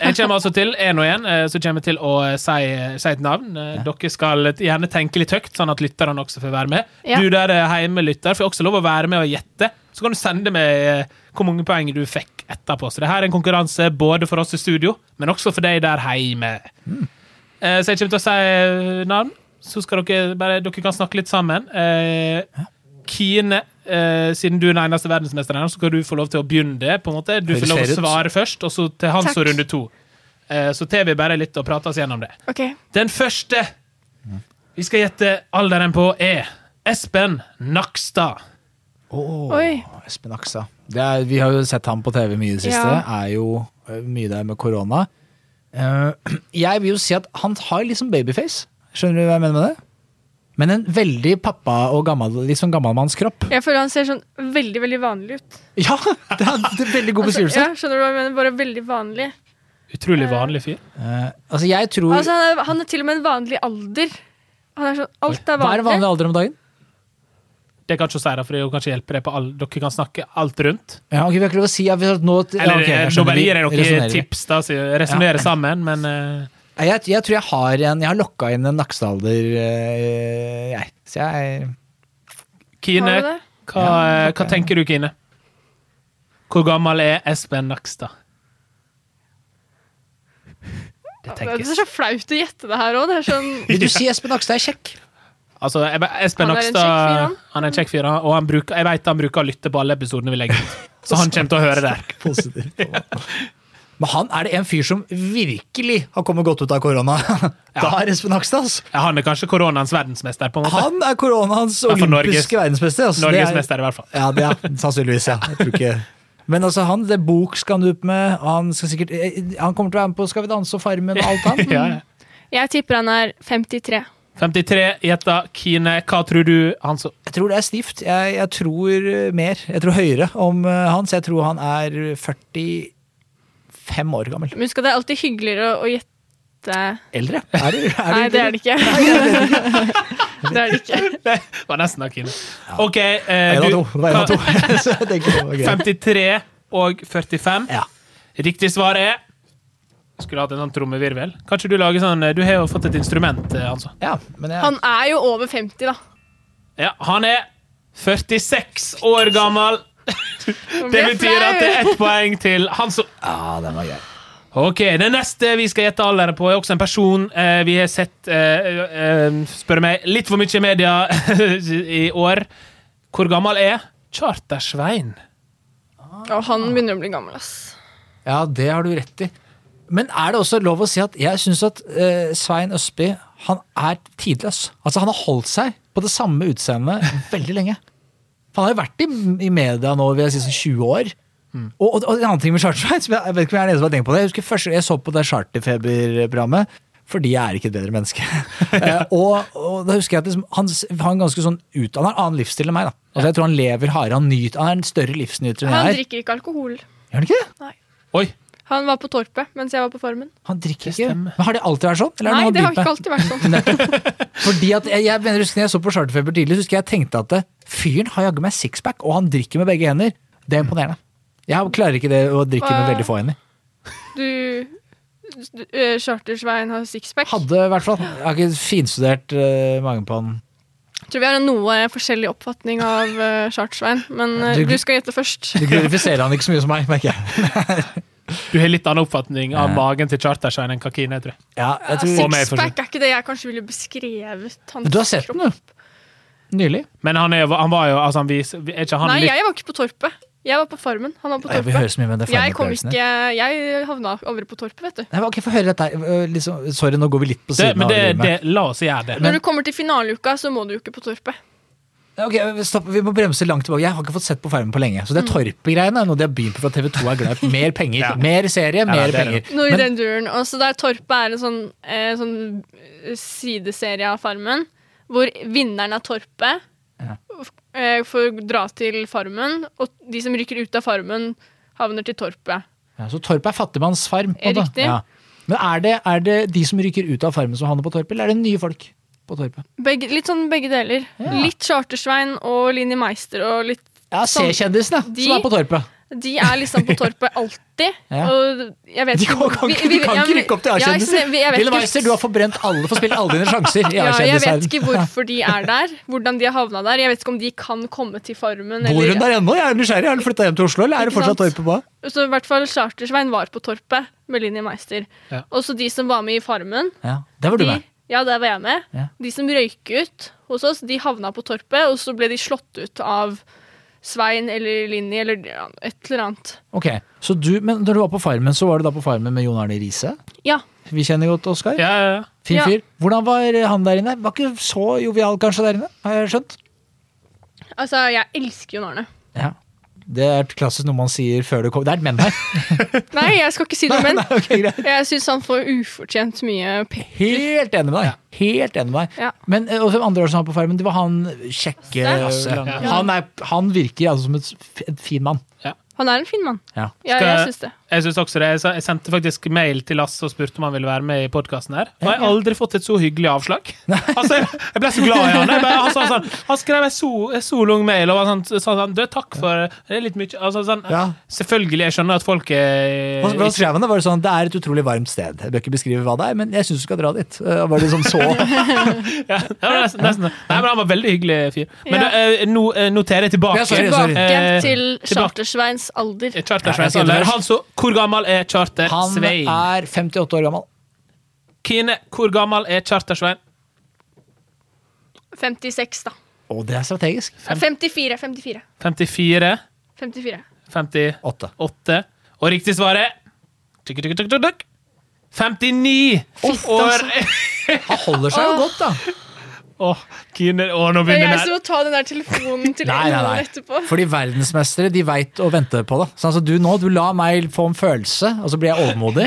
Jeg kommer altså til én og én, så kommer jeg til å eh, si, si et navn. Eh, Dere skal gjerne tenke litt høyt, sånn at lytterne også får være med.
Ja.
Du der eh, hjemme lytter får også lov å være med og gjette. Så kan du sende meg eh, hvor mange poeng du fikk etterpå. Så det her er en konkurranse både for oss i studio, men også for deg der hjemme.
Hmm.
Eh, Så jeg kommer til å si eh, navn. Så skal dere bare Dere kan snakke litt sammen. Eh, Kine, eh, siden du er den eneste verdensmesteren her, så skal du få lov til å begynne det. på en måte. Du får
Høres
lov å
fair ut.
svare først, og så til Hans
Takk.
og runde to. Eh, Så tar vi bare litt og prater oss gjennom det.
Ok.
Den første vi skal gjette alderen på, er Espen Nakstad.
Åh,
Oi.
Espen Aksa. Det er, vi har jo sett ham på TV mye i det siste.
Ja.
Er jo eh, mye der med korona. Eh, jeg vil jo si at han har liksom babyface. Skjønner du hva jeg mener med det? Men en veldig pappa og gammel, litt sånn gammalmannskropp.
Jeg føler han ser sånn veldig veldig vanlig ut.
Ja! Det er, det er veldig god
Altså,
beskrivelse.
ja, skjønner du hva jeg mener? Bare veldig vanlig.
Utrolig vanlig fyr.
Eh, altså, jeg tror
Altså, han, er, han er til og med en vanlig alder. Han er sånn, alt
Hva
er
er
vanlig.
vanlig alder om dagen?
Det kan ikke si det, for det kan ikke hjelpe deg på all, Dere kan snakke alt rundt.
Ja, ok, vi har ikke lov å si ja, vi har- nå, ja,
Eller
ok, jeg
eh,
skjønner,
nå bare
vi
gir jeg dere
resonnerer.
tips, da. Resonnere sammen, men eh,
Nei, Jeg, jeg tror jeg har en Jeg har lokka inn en naksealder, eh, jeg. Så jeg
Kine,
Har du det?
hva, eh, hva tenker du, Kine? Hvor gammel er Espen Nakstad? Det
Det
tenkes.
er så flaut å gjette det her òg. Det er sånn
Vil du si Espen Nakstad er kjekk?
Altså, jeg bare- Espen
Han er en
Nakstad
kjekk fyr, han.
han er en kjekk fyr, han, og han bruker, jeg vet han bruker å lytte på alle episodene vi legger ut. Så han kommer til å høre det.
Positivt. Men han er det en fyr som virkelig har kommet godt ut av korona. Da er Espen Nakstad, altså.
Ja, Han er kanskje koronaens verdensmester, på en måte.
Han er koronaens
er for Norges-
olympiske verdensmester. Altså. Det er-
Norgesmester, i hvert fall.
Ja, det er han, sannsynligvis, ja. Jeg tror ikke. Men altså, han, det er bok skal han ut med, han, skal sikkert, eh, han kommer til å være med på Skal vi danse og Farmen og alt han.
Ja, ja.
Jeg tipper han er 53.
53 gjetta Kine. Hva tror du han så
Jeg tror det er stivt. Jeg, jeg tror eh, mer. Jeg tror høyere om eh, han, så jeg tror han er 45 år gammel.
Men husk at det er alltid hyggeligere å, å gjette
Eldre? Er du, er
Nei, det er det ikke. det er det ikke.
Det var nesten av Kine. OK, eh,
En av
du
to. Det var en av
hva-
to. Så jeg tenker det var greit.
53 og 45.
Ja.
Riktig svar er Skulle hatt en sånn trommevirvel. Kanskje du lager sånn Du har jo fått et instrument, eh, altså.
ja, men jeg,
Han er jo over 50, da.
Ja, han er 46 år gammel.
Man
Det
blir
betyr
flau.
at det er ett poeng til Hans.
Ja, den var grei.
Ok, Den neste vi skal gjette alderen på, er også en person eh, vi har sett eh, eh, Spør meg litt for mye i media i år. Hvor gammel er Charter-Svein?
Og han begynner å bli gammel, ass.
Ja, det har du rett i. Men er det også lov å si at jeg syns at eh, Svein Østby han er tidløs. Altså, han har holdt seg på det samme utseendet veldig lenge. For han har jo vært i, i media nå vil jeg si sånn 20 år. Og, og, og en annen ting med Charter-Svein som jeg, jeg vet ikke om jeg er den eneste som har tenkt på det. Jeg husker først jeg så på det Charterfeber-programmet. Fordi jeg er ikke et bedre menneske. Eh, og, og da husker jeg at liksom, han s- har en ganske sånn ut, han har en annen livsstil enn meg. da. Altså, jeg tror han lever hardere, han, nyter- han er en større livsnyter enn
Han
jeg er.
drikker ikke alkohol.
Gjør han ikke det?
Oi,
Han var på Torpet mens jeg var på Farmen.
Han drikker
Det
ikke.
stemmer.
Men har det alltid vært sånn? Eller
Nei,
er noe
det
han
har ikke
driver med?
alltid vært sånn.
Fordi at jeg, jeg mener, husker, når jeg så på Charterfeber tidlig, så husker jeg jeg tenkte at eh, fyren har jaggu meg sixpack, og han drikker med begge hender. Det er imponerende. Jeg klarer ikke det å drikke med
Hva-
veldig få hender.
Du, du eh, Charter-Svein har sixpack.
Hadde i hvert fall. Jeg har ikke finstudert eh, magen på han.
Tror vi har en noe forskjellig oppfatning av eh, Charter-Svein, men eh,
Du-
du skal gjette først.
Du glorifiserer han ikke så mye som meg, merker jeg.
du har litt annen oppfatning av magen til Charter-Svein enn Kakine, tror jeg.
Ja, jeg tror,
Og meg, for
Sixpack er ikke det jeg kanskje ville beskrevet. hans
Men du har sett
kropp.
den, du. Nylig.
Men han, er, jo- han var jo altså, han vis, Er ikke han
Nei,
litt
jeg var ikke på Torpet. Jeg var på Farmen. Han var på
Jeg vil
Torpet.
høre så mye om den
Jeg kom
farmeopplevelsen
ikke
din.
Jeg havna aldri på Torpet, vet du.
Nei, Ok, få høre dette. her. Eh, Liksom, sorry, nå går vi litt på
det,
siden
Men
av
det, det,
livet.
la oss gjøre det.
Men-
Når du kommer til finaleuka, så må du jo ikke på Torpet.
Ok, stopp. Vi må bremse langt tilbake. Jeg har ikke fått sett på Farmen på lenge. Så det Torpet-greiene er noe de har begynt på fra TV2 er glad i. Mer penger.
Mm. Ja.
Mer serie, mer
det er det.
penger.
Noe i
Men-
den duren. Og så der Torpet er en sånn, eh, sånn eh, sideserie av Farmen, hvor vinneren av Torpet
Ja.
f- eh, får dra til Farmen, og de som rykker ut av Farmen, havner til Torpet.
Ja, så Torp er fattigmannsfarm. på en måte.
Riktig.
Ja. Men er det, er det de som rykker ut av farmen som havner på Torpet, eller er det nye folk på Torpet?
Begge, litt sånn begge deler.
Ja.
Litt Chartersvein og Linni Meister og litt
Ja,
Sånn.
C-kjendisene
De-
som er på Torpet.
De er liksom på Torpet alltid.
Ja.
Og jeg vet
De kan, kan,
vi-
ikke-
vi-
du kan
ja,
ikke
men-
rykke opp til
ja, jeg
A-kjendiser.
ser- jeg vet
Lille
ikke-
Meister, du har forbrent alle, får spille alle dine sjanser i
Ja, jeg vet
A-kjendisverden.
ikke hvorfor de er der, hvordan de har havna der. Jeg vet ikke om de kan komme til Farmen.
Bor hun
Eller,
der ennå? Jeg er nysgjerrig. Har hun flytta hjem til Oslo, eller er det
Ikke
fortsatt
sant?
Torpet på?
så i hvert fall Chartersvein var på Torpet med Linni Meister.
Ja.
Og så de som var med i Farmen.
Ja, Der var du
De,
med.
ja, der var jeg med.
Ja.
De som røyk ut hos oss, de havna på Torpet, og så ble de slått ut av Svein eller Linni eller ja, et eller annet.
Ok, så du, Men når du var på Farmen, så var du da på Farmen med Jon Arne Riise?
Ja.
Vi kjenner godt Oskar.
Ja, ja, ja.
Fin
Ja.
fyr. Hvordan var han der inne? Var ikke så jovial kanskje der inne, har jeg skjønt?
Altså, jeg elsker Jon Arne.
Ja. Det er et klassisk noe man sier før det kommer Det er et men her.
Nei, jeg skal ikke si noe, men
Nei, ok, greit.
jeg syns han får ufortjent mye penger.
Helt enig med deg. Helt enig med deg.
Ja.
Men eh, også andre år som var på Farmen, det var han kjekke
Lasse.
Lasse.
Ja.
Han, er, han virker altså som et, f- en fin mann.
Han er en fin mann.
Ja.
Ja,
Skal
jeg
jeg-
syns det.
Jeg synes også det. Jeg sa- Jeg sendte faktisk mail til Lasse og spurte om han ville være med i podkasten her. Og jeg har aldri fått et så hyggelig avslag. Altså, jeg, jeg ble så glad i han. Jeg bare, han, sa sånn, han skrev en so, en solung mail og var sånn, sa sånn Du, takk for Det er litt mye altså, sånn,
Ja.
Selvfølgelig, jeg skjønner at folk
Eh,
er
Hva, hva skrev han da? Var det sånn Det er et utrolig varmt sted. Jeg bør ikke beskrive hva det er, men jeg syns du skal dra dit. Eh, Var det liksom så
ja, det var nesten, nesten. Nei, men han var veldig hyggelig fyr. Men
Ja.
da, eh, nå eh, noterer jeg tilbake.
Ja, sorry, sorry.
Tilbake
Eh,
til
tilbake. Eh,
Chartersveins alder.
Chartersvein
Ja, jeg sier det først.
Altså, hvor gammel er
Han
Chartersvein?
er 58 år gammel.
Kine, hvor gammel er Chartersvein?
56, da. Eh,
Å, det er strategisk.
Ja, 54. 54.
54?
54.
50
Åtte.
Åtte. Og riktig svar er tuk, tuk, tuk, tuk, tuk. 59 år
Han holder seg jo godt, da.
Åh, Kine, åh, nå
Det er
begynner
jeg som
det her.
må ta den der telefonen til
Nei, nei,
Ellen etterpå.
nei. Fordi verdensmestere de veit å vente på det. Så altså, du nå, du lar meg få en følelse, og så blir jeg overmodig,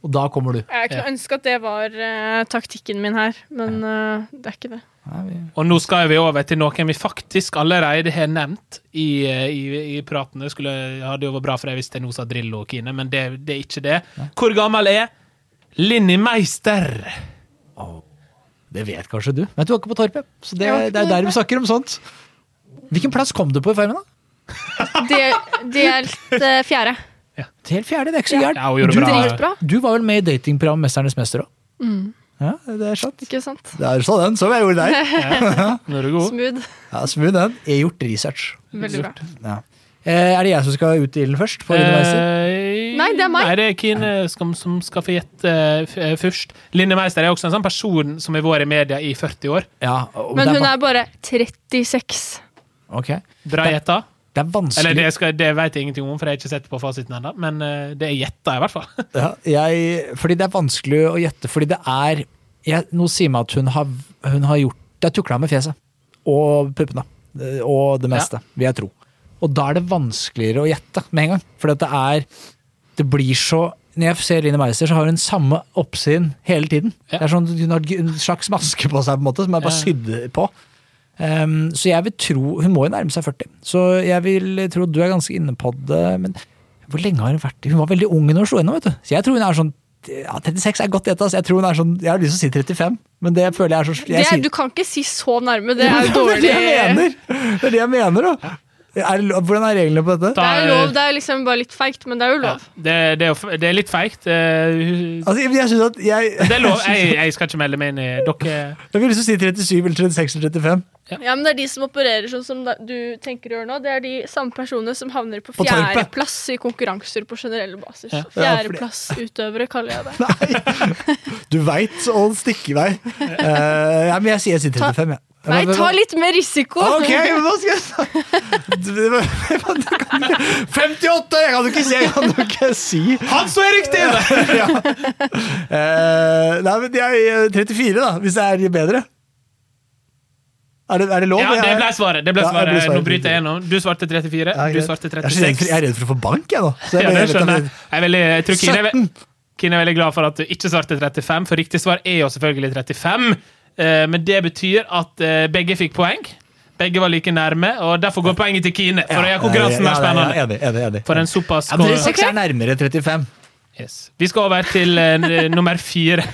og da kommer du.
Jeg kunne ønske at det var eh, taktikken min her, men eh, det er ikke det.
Og nå skal vi over til noen vi faktisk allerede har nevnt i, eh, i, i praten. Det skulle, hadde jo vært bra for deg hvis jeg nå sa Drillo og Kine, men det, det er ikke det. Hvor gammel er Linni Meister?
Det vet kanskje du, men du var ikke på Torpet. Så det,
Jeg var ikke
det er
på
der vi snakker om sånt. Hvilken plass kom du på i Farmen, da?
Det- Delt eh, fjerde.
Til fjerde, det er ikke så gærent.
Ja, hun gjorde
du,
bra.
Dritbra,
du var vel med i datingprogrammet Mesternes mester òg?
Mm.
Ja, det er sant.
ikke sant?
Det er så den, som jeg gjorde deg.
Nå er du god.
Smooth.
Ja, Smooth den. Jeg har gjort research.
Veldig bra.
Ja. Eh, er det jeg som skal ut i ilden først? På underveis?
Eh,
Nei, det er meg.
Nei, det er Kine som, som skal få gjette eh, f- eh, først. Linni Meister er også en sånn person som har vært i media i 40 år.
Ja, og
Men
det
hun
va-
er bare 36.
Ok.
Bra gjetta.
Det er vanskelig
Eller det, skal, det vet jeg ingenting om, for jeg har ikke sett på fasiten ennå. Men eh, det er gjetta, i hvert fall.
Ja, jeg, fordi det er vanskelig å gjette, fordi det er jeg, Noe sier meg at hun har, hun har gjort Det er tukla med fjeset. Og puppene. Eh, Og det meste, vil jeg tro. Og da er det vanskeligere å gjette med en gang. For det er Det blir så Når jeg ser Line Meister, så har hun samme oppsyn hele tiden.
Ja.
Det er sånn Hun har en slags maske på seg, på en måte, som er bare
Ja.
sydd på. Ehm, så jeg vil tro Hun må jo nærme seg 40, så jeg vil tro du er ganske inne på det. Men hvor lenge har hun vært Hun var veldig ung når hun slo gjennom, vet du. Så jeg tror hun er sånn ja, 36 er godt gjetta. så Jeg tror hun er sånn, jeg har lyst til å si 35, men det føler jeg er så
Det
jeg
er,
sier-
du kan ikke si så nærme, det er jo
Det er det
dårlig.
jeg mener! Det er det jeg mener, da. Er, det lov- hvordan er reglene på dette?
Det er jo lov, det er liksom bare litt feigt, men det er jo
Ja,
lov.
det, det, er, jo f- det er litt feigt. eh,
Altså, jeg synes at jeg,
det er lov. Jeg, jeg skal ikke melde meg inn i dere.
jeg vil lyst til å si 37 eller 36 eller 35.
Ja, men det er de som opererer sånn som da- du tenker å gjøre nå, det er de samme personene som havner på
På torpet.
fjerdeplass i konkurranser på generell basis.
Ja.
Ja, fordi-
Fjerdeplassutøvere kaller jeg det.
Du veit å stikke i vei. Eh, ja, men jeg sier jeg sier 35, jeg.
Nei, ta litt mer risiko!
Ok, men hva skal jeg si? 58! Jeg kan jo ikke si, jeg kan jo ikke si.
Han så er riktig!
Ja. Eh, nei, men jeg er 34, da, hvis det er bedre. Er det, er det lov?
Ja, det ble svaret. Det ble
Ja, det ble
svaret.
svaret.
Nå bryter jeg gjennom. Du svarte 34,
Ja, greit.
du svarte
Jeg er så redd for-
36.
Jeg er redd for å få bank, jeg nå.
Ja,
Så jeg ble-
det
jeg vet
skjønner
at
jeg. Jeg er veldig, jeg tror Kine er, ve-
17!
Kine er veldig glad for at du ikke svarte 35, for riktig svar er jo selvfølgelig 35. eh, Men det betyr at eh, begge fikk poeng. Begge var like nærme, og derfor går poenget til Kine. For å gjøre konkurransen
ja,
mer
ja, ja,
spennende.
Enig, enig, enig.
For en såpass
ja, men dere
score.
seks er nærmere 35.
yes. Vi skal over til eh, n- nummer fire.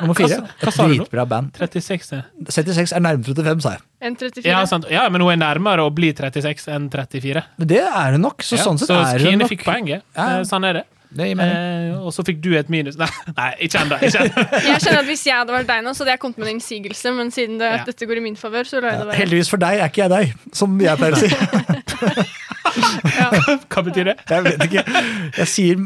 Nummer fire.
Hva sa- hva
Et
sa du nå?
dritbra band.
36. ja.
76 er nærmere 35, sa jeg.
Ja, altså-
1,34.
sant. ja, men hun er nærmere å bli 36 enn 34.
Men det er det nok. Så sånn sett
så
er det
Kine
nok.
fikk poenget.
Ja.
Eh, Sånn er det.
Det gir mening.
Eh, og så fikk du et minus. Nei, nei ikke ennå. Ikke enda.
Jeg kjenner at Hvis jeg hadde vært deg nå, så hadde jeg kommet med en innsigelse. Men siden det,
Ja.
dette går i min favør, så
Eh,
lar jeg det være.
Heldigvis for deg er ikke jeg deg, som jeg pleier å si.
Hva betyr det?
Jeg vet ikke. Jeg sier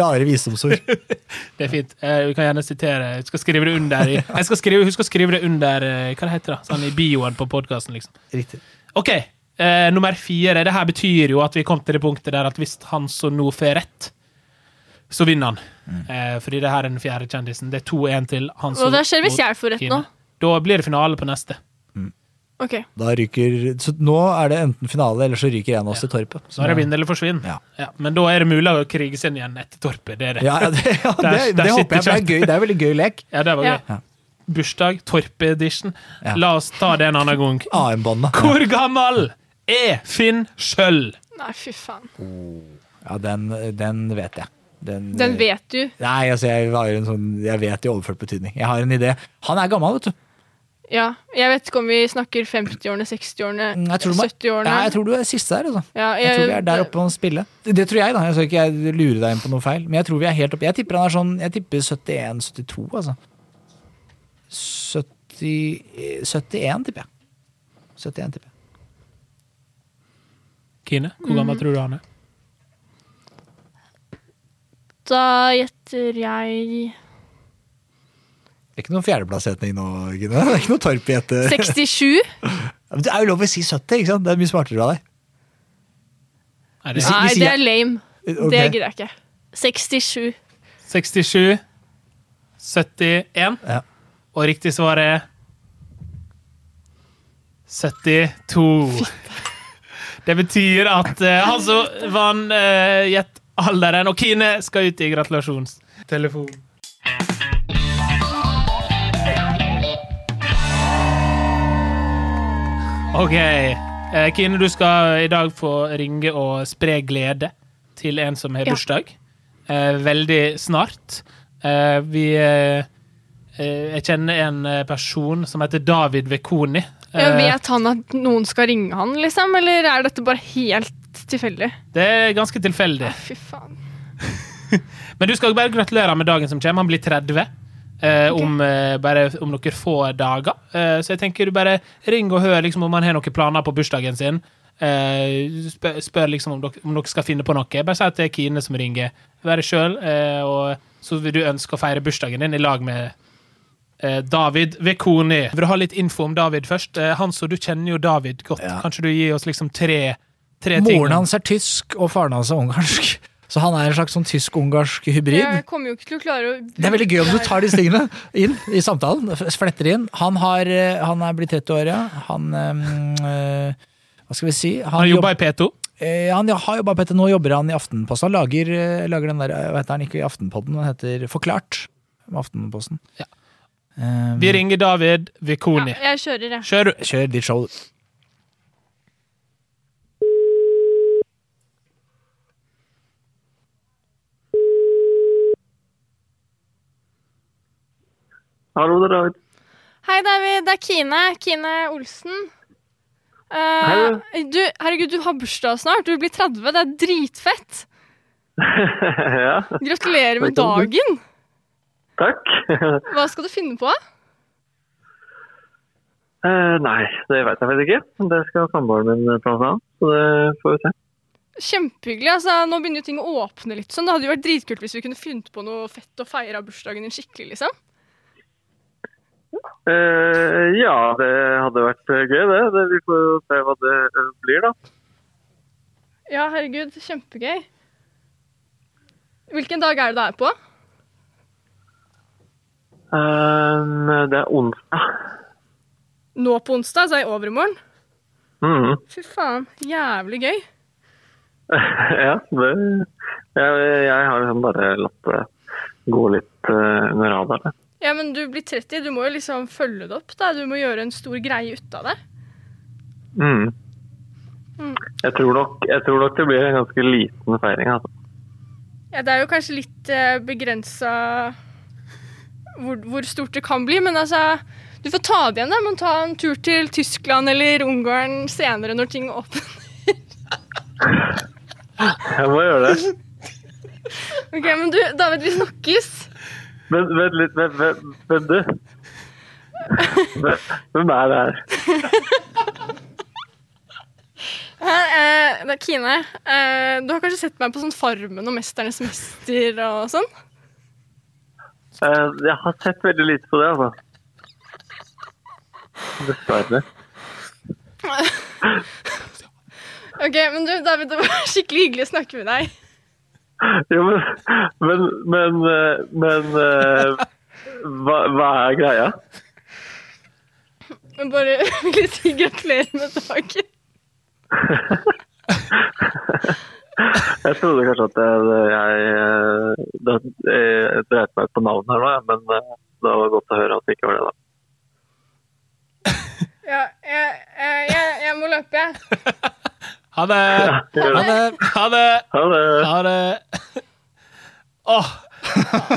rare visdomsord.
Det er fint. Eh, vi kan gjerne sitere. Hun skal skrive det under i jeg skal skrive, Hun skal skrive det under eh, Hva det heter det? Sånn i bioen på podkasten, liksom.
Riktig.
OK, eh, nummer fire. Det her betyr jo at vi kom til det punktet der at hvis han som nå får rett, så vinner han.
Mm.
Eh, fordi det her er den fjerde kjendisen. Det er 2-1 til han som
Hva skjer hvis
mot
jeg får rett
Kine.
nå?
Da blir det finale på neste.
Ok,
Da ryker Så nå er det enten finale, eller så ryker en av oss til Torpet.
Så er det vinn eller forsvinn.
Ja.
Ja, men da er det mulig å krige seg inn igjen etter Torpet. Det er det.
Ja, ja, det, ja, det,
Der- der
det
sitter
håper jeg, for det er gøy. Det er veldig gøy lek.
Ja, det var
Ja.
gøy. Bursdag, Torpe-edition.
Ja. Ah,
La oss ta det en annen gang.
AM-båndet.
Hvor gammel er Finn Schjøll?
Nei, fy faen.
Ja, den, den vet jeg. Den,
Den vet du.
Nei, altså jeg, har en sånn, jeg vet i overført betydning. Jeg har en idé. Han er gammel, vet du.
Ja. Jeg vet ikke om vi snakker 50-årene, 60-årene,
Mm, Jeg tror, du må-
70-årene.
Nei, jeg tror du er siste der, altså.
Ja,
Jeg tror vi er der
det-
oppe og spiller. Det, det tror jeg, da. Jeg skal ikke jeg lure deg inn på noe feil. Men jeg tror vi er helt oppe. Jeg tipper han er sånn Jeg tipper 71-72, altså. 70, 71, tipper jeg. 71, tipper jeg.
Kine,
Mm.
hvor gammel tror du han er?
Da gjetter jeg
Det er ikke noen fjerdeplasssetning nå, Gine. Det er ikke noe torp i etter.
67.
Men Det er jo lov å si 70, ikke sant? Det er mye smartere av deg.
Er
Vi
det
sier-
Nei,
sier-
det er lame.
Ok.
Det gidder jeg ikke. 67.
67, 71,
Ja.
og riktig svar er 72. Det betyr at eh, han som vant eh, gjett alderen, og Kine skal ut i gratulasjonstelefon. OK. Eh, Kine, du skal i dag få ringe og spre glede til en som har
Ja.
bursdag. Eh, veldig snart. Eh, vi eh, eh, Jeg kjenner en eh, person som heter David Vekoni.
Jeg
Eh,
vet han at noen skal ringe han, liksom? Eller er dette bare helt tilfeldig?
det er ganske tilfeldig.
Fy faen.
Men du skal bare gratulere med dagen som kommer. Han blir 30 eh, om, eh, bare, om noen få dager. Eh, så jeg tenker du bare ring og hør liksom, om han har noen planer på bursdagen sin. Eh, spør, spør liksom om dere, om dere skal finne på noe. Bare si at det er Kine som ringer. Være sjøl, eh, og så vil du ønske å feire bursdagen din i lag med eh, David Vekoni. Vil du ha litt info om David først? Eh, Hans, og du kjenner jo David godt.
Ja.
Kanskje du gir oss liksom tre, tre ting?
Moren hans er tysk, og faren hans er ungarsk. Så han er en slags sånn tysk-ungarsk hybrid.
Jeg kommer jo ikke til å klare å
Det er veldig gøy om du tar disse tingene inn i samtalen. f- Fletter inn. Han, har, eh, han er blitt 30 år, ja. Han ehm, eh, Hva skal vi si? Han,
Han
jobb-
jobber i P2.
eh, han har jobba på dette, nå jobber han i Aftenposten. Han lager, eh, lager den der, eh, hva heter han ikke i Aftenpodden, den heter Forklart. med Aftenposten.
Ja.
Ehm,
Vi ringer David Vekoni.
ja, Jeg kjører, jeg.
Kjør, du.
Kjør ditt show.
Hallo, det er David.
Hei, David. Det er Kine. Kine Olsen. Eh, du, herregud, du har bursdag snart. Du blir 30. Det er dritfett.
ja,
Gratulerer med
Velkommen.
dagen.
takk.
Hva skal du finne på?
Eh, nei, det vet jeg faktisk ikke. Det skal samboeren min eh, planlegge, så det får vi se.
Kjempehyggelig. altså Nå begynner jo ting å åpne litt. sånn. Det hadde jo vært dritkult hvis vi kunne funnet på noe fett og feira bursdagen din skikkelig. liksom.
Eh, ja, det hadde vært eh, gøy, det. det. Vi får jo se hva det eh, blir, da.
Ja, herregud. Kjempegøy. Hvilken dag er det det er på?
Eh, det er onsdag.
Nå på onsdag, altså i overmorgen?
Mhm.
Fy faen. Jævlig gøy.
ja, det jeg, jeg har liksom bare latt det gå litt eh, under radaren. jeg.
Ja, men du blir 30. Du må jo liksom følge det opp. da. Du må gjøre en stor greie ut av det.
Mm. Jeg, tror nok, jeg tror nok det blir en ganske liten feiring. Altså.
Ja, det er jo kanskje litt eh, begrensa hvor, hvor stort det kan bli, men altså Du får ta det igjen, da. Men ta en tur til Tyskland eller Ungarn senere når ting åpner.
Jeg må gjøre det.
Ok, men du, David, vi snakkes.
Men vent litt, vent, vent, vent du. Hvem- Hvem er det her?
Her, eh, det er Kine. Eh, du har kanskje sett meg på sånn Farmen og Mesternes mester og sånn?
Eh, Jeg har sett veldig lite på det, altså. Dessverre.
Ok, men du, David, det var skikkelig hyggelig å snakke med deg.
Jo, men Men, men, eh, men eh, hva, hva er greia?
Men bare vil jeg si gratulerer med dagen.
Jeg trodde kanskje at jeg, jeg, eh, det, jeg dreit meg ut på navnet her nå, jeg, men eh, det var godt å høre at det ikke var det, da.
Ja, jeg, jeg, jeg, jeg må løpe, jeg.
Ha det!
Det gjør det.
Ha det!
Ha det.
Ha det! Åh!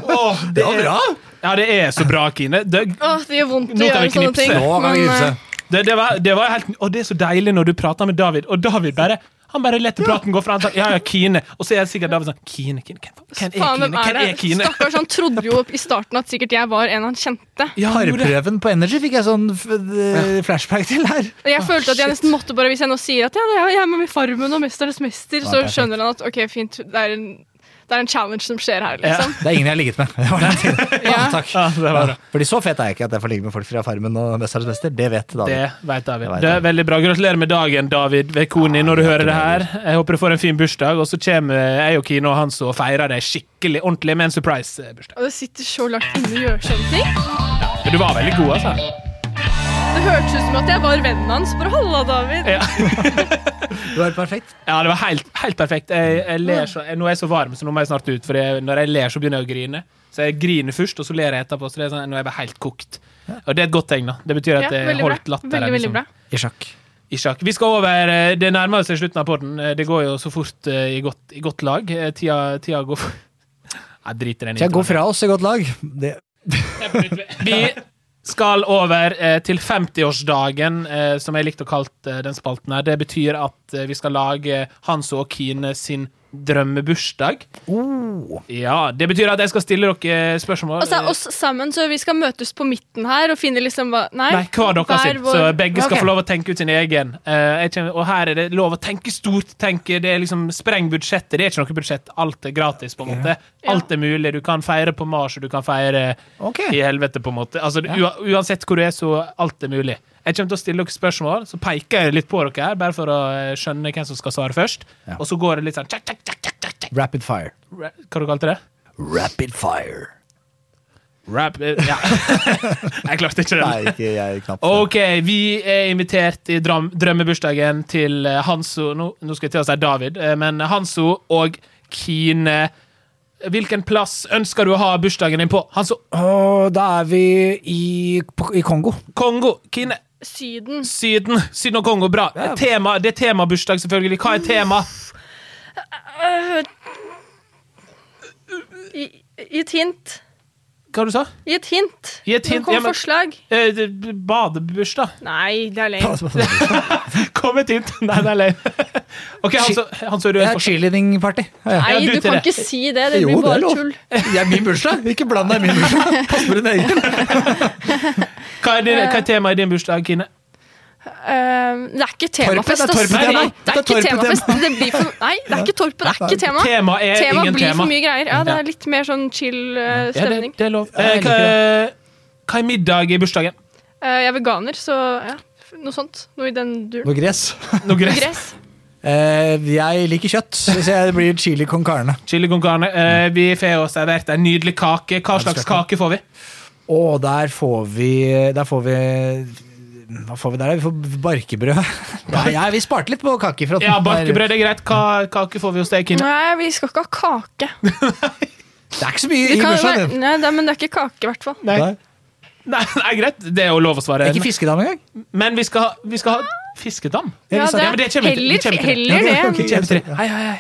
Åh, det, er- Ja, det er så bra, Kine. Det,
Åh, det gjør vondt
Nå
å
kan vi
gjøre sånne
knipse.
ting.
Nå kan vi
men,
knipse.
eh,
det, det, var, det var helt Og det er så deilig når du prater med David, og David bare han bare lar praten gå fra han sa, ja, ja, Kine. Og så er det sikkert David sånn Kine, Kine, hvem, hvem er
Faen, hvem
Kine?
er
Hvem
det?
er Kine?
Stakkars, han trodde jo i starten at sikkert jeg var en han kjente.
Ja, han gjorde det.
Parprøven på Energy fikk jeg sånn f- d- flashback til her.
Og Jeg følte at jeg nesten måtte bare, hvis jeg nå sier at ja, det er jeg er med i Farmen og Mesternes mester, så
perfekt.
skjønner han at ok, fint, det er en, det er en challenge som skjer her, liksom.
Det er ingen jeg har ligget med. Det var det.
Ja.
Takk.
Ja, det var
Ja,
bra.
Fordi så fet er jeg ikke at jeg får ligge med folk fra Farmen og Mesterens mester. Det vet David.
Det vet David. Det
Det vet
er
David.
veldig bra. Gratulerer med dagen, David Vekoni, når du hører det her. Jeg håper du får en fin bursdag, og så kommer jeg og Kine og Hans og feirer deg skikkelig ordentlig med en eh, surprise-bursdag.
Og det sitter så langt inne å gjøre sånne ting.
Men du var veldig god, altså.
Det hørtes ut som at jeg var vennen hans. Bare hold av, David.
Ja,
Du er perfekt.
ja det var helt, helt perfekt. Jeg, jeg ler så, jeg, nå er jeg så varm, så nå må jeg snart ut, for jeg, når jeg ler, så begynner jeg å grine. Så jeg griner først, og så ler jeg etterpå. Så det er sånn, nå er jeg bare helt kokt. Og det er et godt tegn, da. Det betyr
Ja,
at jeg
veldig
holdt
bra.
latteren.
Veldig, veldig
liksom.
bra.
I sjakk.
i sjakk. Vi skal over, eh, Det nærmer seg slutten av podden. Eh, Det går jo så fort eh, i godt, i godt lag. Eh, Tida, tida går for... Jeg driter i den
Så jeg går fra oss i godt lag. Det,
introen. Vi skal over eh, til 50-årsdagen, eh, som jeg likte å kalle eh, den spalten her. Det betyr at eh, vi skal lage Hans og Kine sin drømmebursdag. Ja, Det betyr at jeg skal stille dere eh, spørsmål.
Og så er Altså, oss sammen, så vi skal møtes på midten her og finne liksom hva Nei,
Nei, hver dere
hver
sin.
vår-
Så begge skal
Ok.
få lov å tenke ut sin egen. Eh, jeg kjenner, og her er det lov å tenke stort. Tenke, det er liksom Spreng budsjettet. Det er ikke noe budsjett. Alt er gratis, på en måte. Alt er mulig. Du kan feire på Mars, og du kan feire
ok.
i helvete, på en måte. Altså, ua- Uansett hvor du er, så alt er mulig. Jeg kommer til å stille dere spørsmål, så peker jeg litt på dere her, bare for å eh, skjønne hvem som skal svare først.
Ja.
Og så går det litt sånn tjakk, tjakk, tjakk, tjakk, tjakk, tjakk.
Rapid fire.
Ra- Hva du kalte du det?
Rapid fire.
Rap eh, Ja. jeg klarte ikke det.
Nei, ikke jeg knapt.
Ok, vi er invitert i drøm drømmebursdagen til eh, Hanso nå, nå skal jeg til å si David, eh, men Hanso og Kine. Hvilken plass ønsker du å ha bursdagen din på? Hanso,
Og da er vi i, på, i Kongo.
Kongo, Kine,
Syden.
Syden. Syden og Kongo, bra. Tema, det er temabursdag, selvfølgelig. Hva er tema?
Øh, Gi gi et hint.
Hva du sa du?
Gi et hint.
Gi et hint,
Kom
ja, men-
forslag.
Eh, Badebursdag.
Nei, det er
altså,
lenge.
Kom et hint! Nei, det er løgn. OK, Hanso, Hanso, du
Det
er
er
fortsatt
cheerleading-party. Ja,
Nei,
Ja, du
du
til
kan
det.
ikke si det. Det
Jo, det
blir
er
bare
lov.
tull.
Det er min bursdag! Ikke bland deg i min bursdag. Pass på din egen.
Hva er, din, hva er temaet i din bursdag, Kine?
Ehm, det er ikke
Torpet,
temafest,
det er
ass.
torpet,
ja,
Nei,
nei.
det er
Det er
ikke
torpet,
temafest. Det blir for, nei, det er ikke torpet, det er ikke tema.
Tema er
Tema
Eh, ingen
blir
tema.
for mye greier. Ja, det
Ja.
er litt mer sånn chill eh,
Ja, det,
stemning.
det er lov.
Ja,
Eh,
jeg
hva, hva er middag i bursdagen?
Eh, jeg er veganer, så ja, f- noe sånt. Noe i den duren.
Noe gress.
Noe gress?
Gress.
Eh, jeg liker kjøtt, så jeg blir chili con carne.
Chili con carne. Eh, vi får oss servert en nydelig kake. Hva slags kake får vi?
Og der får vi Der får vi hva får vi der? Vi får barkebrød. Nei, ja, vi sparte litt på kakefronten.
Ja, Barkebrød er greit. Hva kake får vi hos deg, Kine?
Nei, vi skal ikke ha kake.
Det er ikke så mye
Det
i
kan være,
bursdagen din.
nei, det, men det er ikke kake, i hvert fall.
Nei.
Nei.
Nei, nei, greit. Det er jo lov å svare.
Ikke fiskedame engang.
Men vi skal, ha- vi skal ha Fiskedam?
Ja, vi
Ja,
sa-
det
Ja, men det kommer til- vi
heller,
kommer til det.
heller det.
Ok,
enn-
jeg
Kjem
ser-
tre. Hei, hei, hei.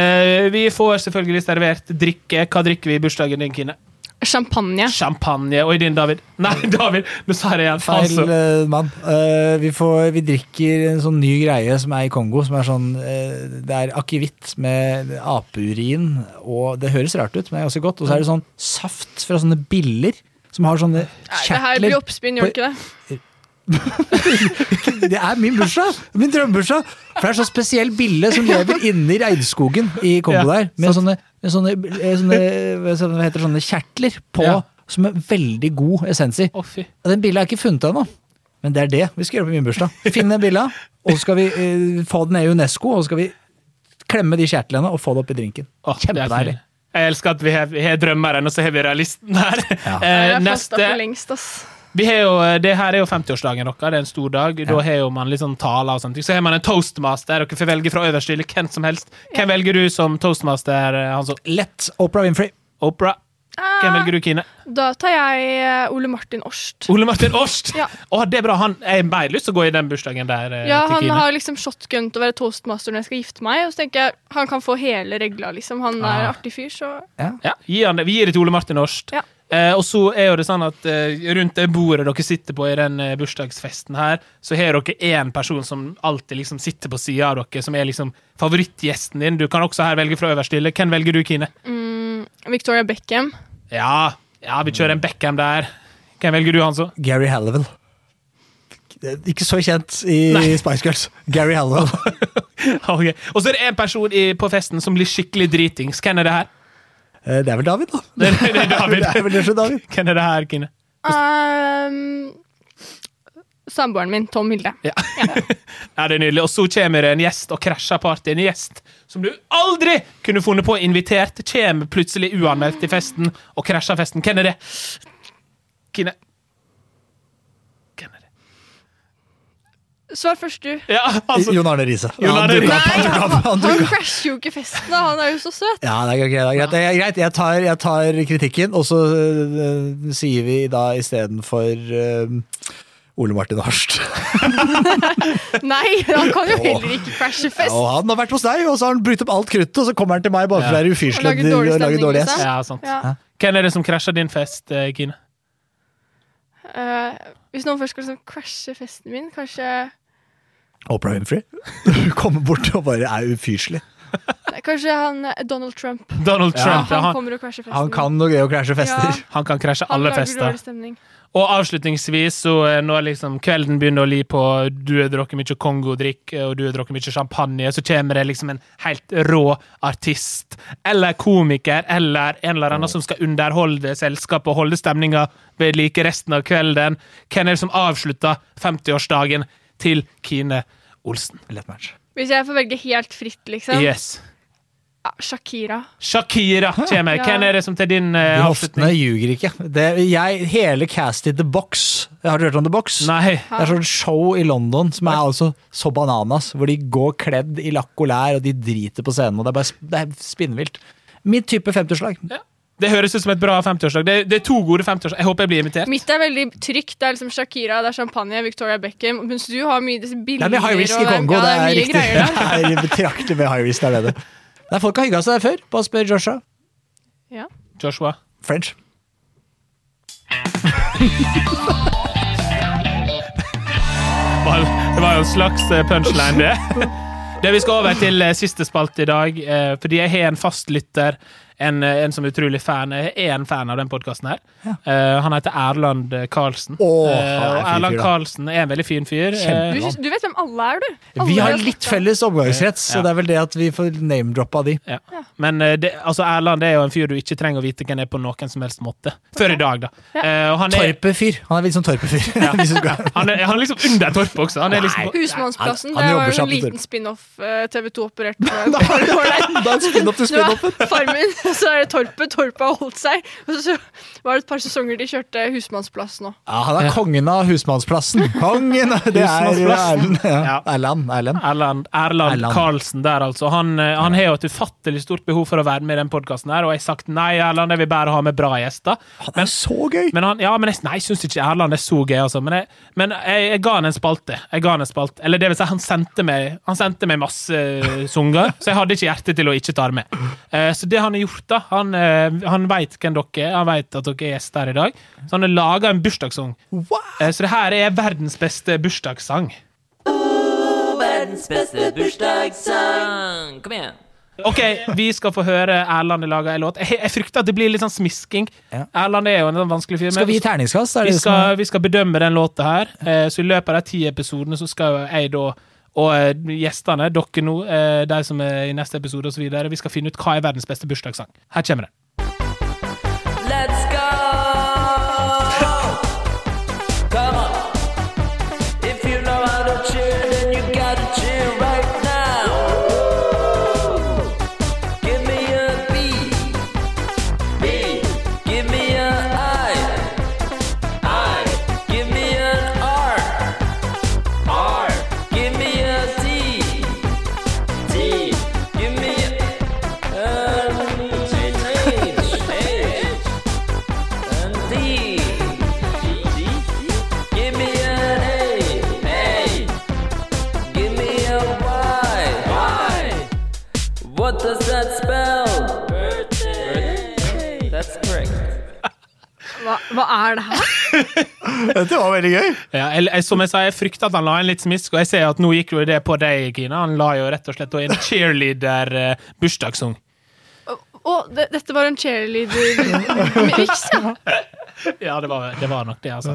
Eh, vi får selvfølgelig servert drikke. Hva drikker vi i bursdagen din, Kine?
Champagne.
Champagne. Og i din, David? Nei, David! Nå sa jeg det igjen. Faen,
Feil
så.
eh, mann. Eh, vi, får, vi drikker en sånn ny greie som er i Kongo, som er sånn eh, Det er akevitt med apeurin, og det høres rart ut, men det er også godt. Og så er det sånn saft fra sånne biller som har sånne
Nei, det her blir
kjertler.
oppspinn, gjør det ikke det?
Det er min bursdag! Min drømmebursdag! For det er sånn spesiell bille som lever inni regnskogen i Kongo
Ja,
der, med sånne, med sånne, eh, sånne, hva heter det, sånne kjertler på,
Ja.
som er veldig god essens i.
Å, fy.
Ja, Den bilen er ikke funnet ennå, men det er det vi skal gjøre på min bursdag. Finne den bilen, og så skal vi eh, få den ned i UNESCO, og så skal vi klemme de kjertlene og få det oppi drinken.
Å, det er
Kjempedeilig.
fint. Jeg elsker at vi har, vi har drømmeren, og så har vi realisten her.
Ja.
Eh,
Jeg har fasta
neste
for lengst, ass.
vi har jo, eh, Det her er jo 50-årsdagen deres. Det er en stor dag. Da har jo man litt sånn taler og sånt. Så har man en toastmaster. Dere får velge fra øverste hylle hvem som helst. Hvem velger du som toastmaster, Hans
Lett Opera Winfrey.
Opera? Hvem
Ah.
velger du, Kine?
Da tar jeg eh, Ole Martin Årst.
Ole Martin Årst!
Ja.
Å, det er bra. Han jeg har mer lyst til å gå i den bursdagen der. eh,
Ja,
til
han
Kine.
har liksom shotgun til å være toastmaster når jeg skal gifte meg. Og så tenker jeg, han kan få hele regla, liksom. Han er
Ah.
en artig fyr, så
Ja, gi han det. Vi gir det til Ole Martin Årst.
Ja.
Eh, og så er jo det sånn at eh, rundt det bordet dere sitter på i den eh, bursdagsfesten her, så har dere én person som alltid liksom sitter på sida av dere, som er liksom favorittgjesten din. Du kan også her velge fra øverste hylle. Hvem velger du, Kine?
Victoria Beckham.
Ja, ja, vi kjører en Beckham der. Hvem velger du, Hanso?
Gary Halliwell. Ikke så kjent i Spice Girls. Gary Halliwell.
Ok. Og så er det en person i, på festen som blir skikkelig dritings. Hvem er det her?
Eh, Det er vel David, da?
Det er, det er
Det er
David.
vel kanskje David.
Hvem er det her, Kine?
Um, Samboeren min, Tom Hilde.
Ja, det er nydelig. Og så kommer det en gjest og krasjer party. En gjest som du aldri kunne funnet på å invitert, kommer plutselig uanmeldt til festen og krasjer festen. Hvem er det? Kine. Hvem er det?
Svar først, du.
Ja, altså.
Jon Arne Riise.
Jon Arne
Han dukket opp,
Riise.
han dukket opp, han
Han
dukket opp.
crasher jo ikke festen, da. Han er jo så søt.
Ja, det er greit. Det er greit. Det er greit. Jeg, tar, jeg tar kritikken, og så eh, sier vi da istedenfor uh, Ole Martin Harst.
Nei, han kan jo heller ikke crashe fest.
Og han har vært hos deg, og så har han brutt opp alt kruttet, og så kommer han til meg bare for å være
Og
ufyselig
lager dårlig
og lager
stemning,
dårlig
liksom.
S.
Ja, sant.
Ja.
Hvem er det som krasjer din fest, eh, Kine?
Eh, hvis noen først skal liksom crashe festen min, kanskje
Oprah Winfrey. Hun kommer bort og bare er ufyselig.
nei, Kanskje han eh, Donald Trump.
Donald Trump. Ja,
Han
han,
kommer og crasher festen.
Han kan noe gøy å krasje fester.
Ja.
han kan krasje
Han
alle
lager
fester.
dårlig stemning.
Og avslutningsvis, så eh, når liksom kvelden begynner å li på du har drukket mye Kongo-drikk og du har drukket mye champagne, så kommer det liksom en helt rå artist eller komiker eller en eller annen som skal underholde selskapet og holde stemninga ved like resten av kvelden. Hvem er det som avslutter 50-årsdagen til Kine Olsen?
Lett match.
Hvis jeg får velge helt fritt, liksom.
Yes.
Ja, Shakira.
Shakira kommer.
Ja.
Hvem er det som til din eh,
De hoftene
avslutning?
ljuger ikke. Det, jeg, hele cast i The Box Har du hørt om The Box?
Nei.
Det er sånn show i London som er altså så bananas, hvor de går kledd i lakk og lær, og de driter på scenen, og det er bare sp- det er spinnvilt. Mitt type 50-årslag.
Det høres ut som et bra 50-årsdag. Det, det er to gode 50-årsdag. Jeg håper jeg blir invitert.
Mitt er veldig trygt. Det er liksom Shakira, det er champagne, Victoria Beckham. Mens du har mye disse
Det
bilder
er mye high risk i
og-
Kongo,
ja,
det er
mye
riktig.
greier der.
Det er betraktelig med high risk, det er det det. Nei, folk har hygga seg der før. Bare spør Joshua.
Ja.
Joshua.
French.
var, det var jo en slags eh, punchline, det. Det Vi skal over til eh, siste spalte i dag, eh, fordi jeg har en fastlytter. En, eh, en som er utrolig fan. Jeg er en fan av den podkasten her. Eh, han heter Erland eh, Karlsen.
Åh,
Eh, og
han er en fin
Erland
fyr, da.
Karlsen er en veldig fin fyr.
Kjempe-
Eh,
Du, du vet hvem alle er, du. Alle
Vi har
er
litt
søte.
felles omgangskrets,
Ja.
så det er vel det at vi får name-droppa de.
ja. Men eh, det, altså Erland er jo en fyr du ikke trenger å vite hvem er på noen som helst måte. Før i dag, da. Eh, og han er,
Torpefyr. Han er litt sånn torpefyr. Hvis du skal-
han er, han er liksom under torpet også. Han er liksom,
Husmannsplassen.
Han- han
det
jobber
var
seg
jo en eh,
opp til-
liten spin-off TV 2 operert
Da
på.
er det- da er det spin-off til
Det var
spin-offen.
Farmen. Og så er det Torpet. Torpet har holdt seg. Og så var det et par sesonger de kjørte Husmannsplass nå.
Ja, han er kongen av husmannsplassen. Kongen av Det er
Husmannsplassen.
Erlend. Ja.
Ja.
Erlend. Erlend.
Erland, Erland,
Erland.
Karlsen der, altså. Han, eh, han har jo et ufattelig stort behov for å være med i den podkasten her, og jeg har sagt nei, Erland, jeg vil bare ha med bra gjester.
Han er så gøy!
Men han, ja, men jeg, nei, jeg syns ikke Erland er så gøy, altså. Men, jeg, men jeg, jeg ga han en spalte. Jeg ga han en spalte. Eller det vil si, han sendte meg, han sendte meg masse eh, sanger, så jeg hadde ikke hjerte til å ikke ta det med. Eh, så det han har gjort, da Han, uh, han veit hvem dere er, han veit at dere er gjester her i dag, så han har laga en bursdagssang.
Wow!
Eh, så det her er verdens beste bursdagssang.
verdens beste bursdagssang. Kom igjen.
Ok, vi skal få høre Erland lage en låt. Jeg, jeg frykter at det blir litt sånn smisking.
Ja.
Erland er jo en sånn vanskelig fyr. men-
Skal vi gi terningkast? Er
vi
det det som er-
skal, vi skal bedømme den låta her. Eh, så i løpet av de ti episodene så skal jo jeg da og eh, gjestene, dere nå, eh, de som er i neste episode osv., vi skal finne ut hva er verdens beste bursdagssang. Her kommer den.
Let's go! Come on. If you know how to cheer, then you gotta cheer right now. Give me a B. B. Give me a I. I. Give me an R. R. Give me a T. T. Give me a H. H. And D. Give me an A. A. Give me a Y. Y. What does that spell? Birthday. That's correct.
Hva, hva er det her?
Dette var veldig gøy!
Ja, jeg, jeg, som jeg sa, jeg frykter at han la inn litt smisk, og jeg ser at nå gikk jo det på deg, Gina. Han la jo rett og slett da eh, inn cheerleader-bursdagssang.
Å, det, dette var en cheerleader-miks, ja.
ja, det var, det var nok det, altså.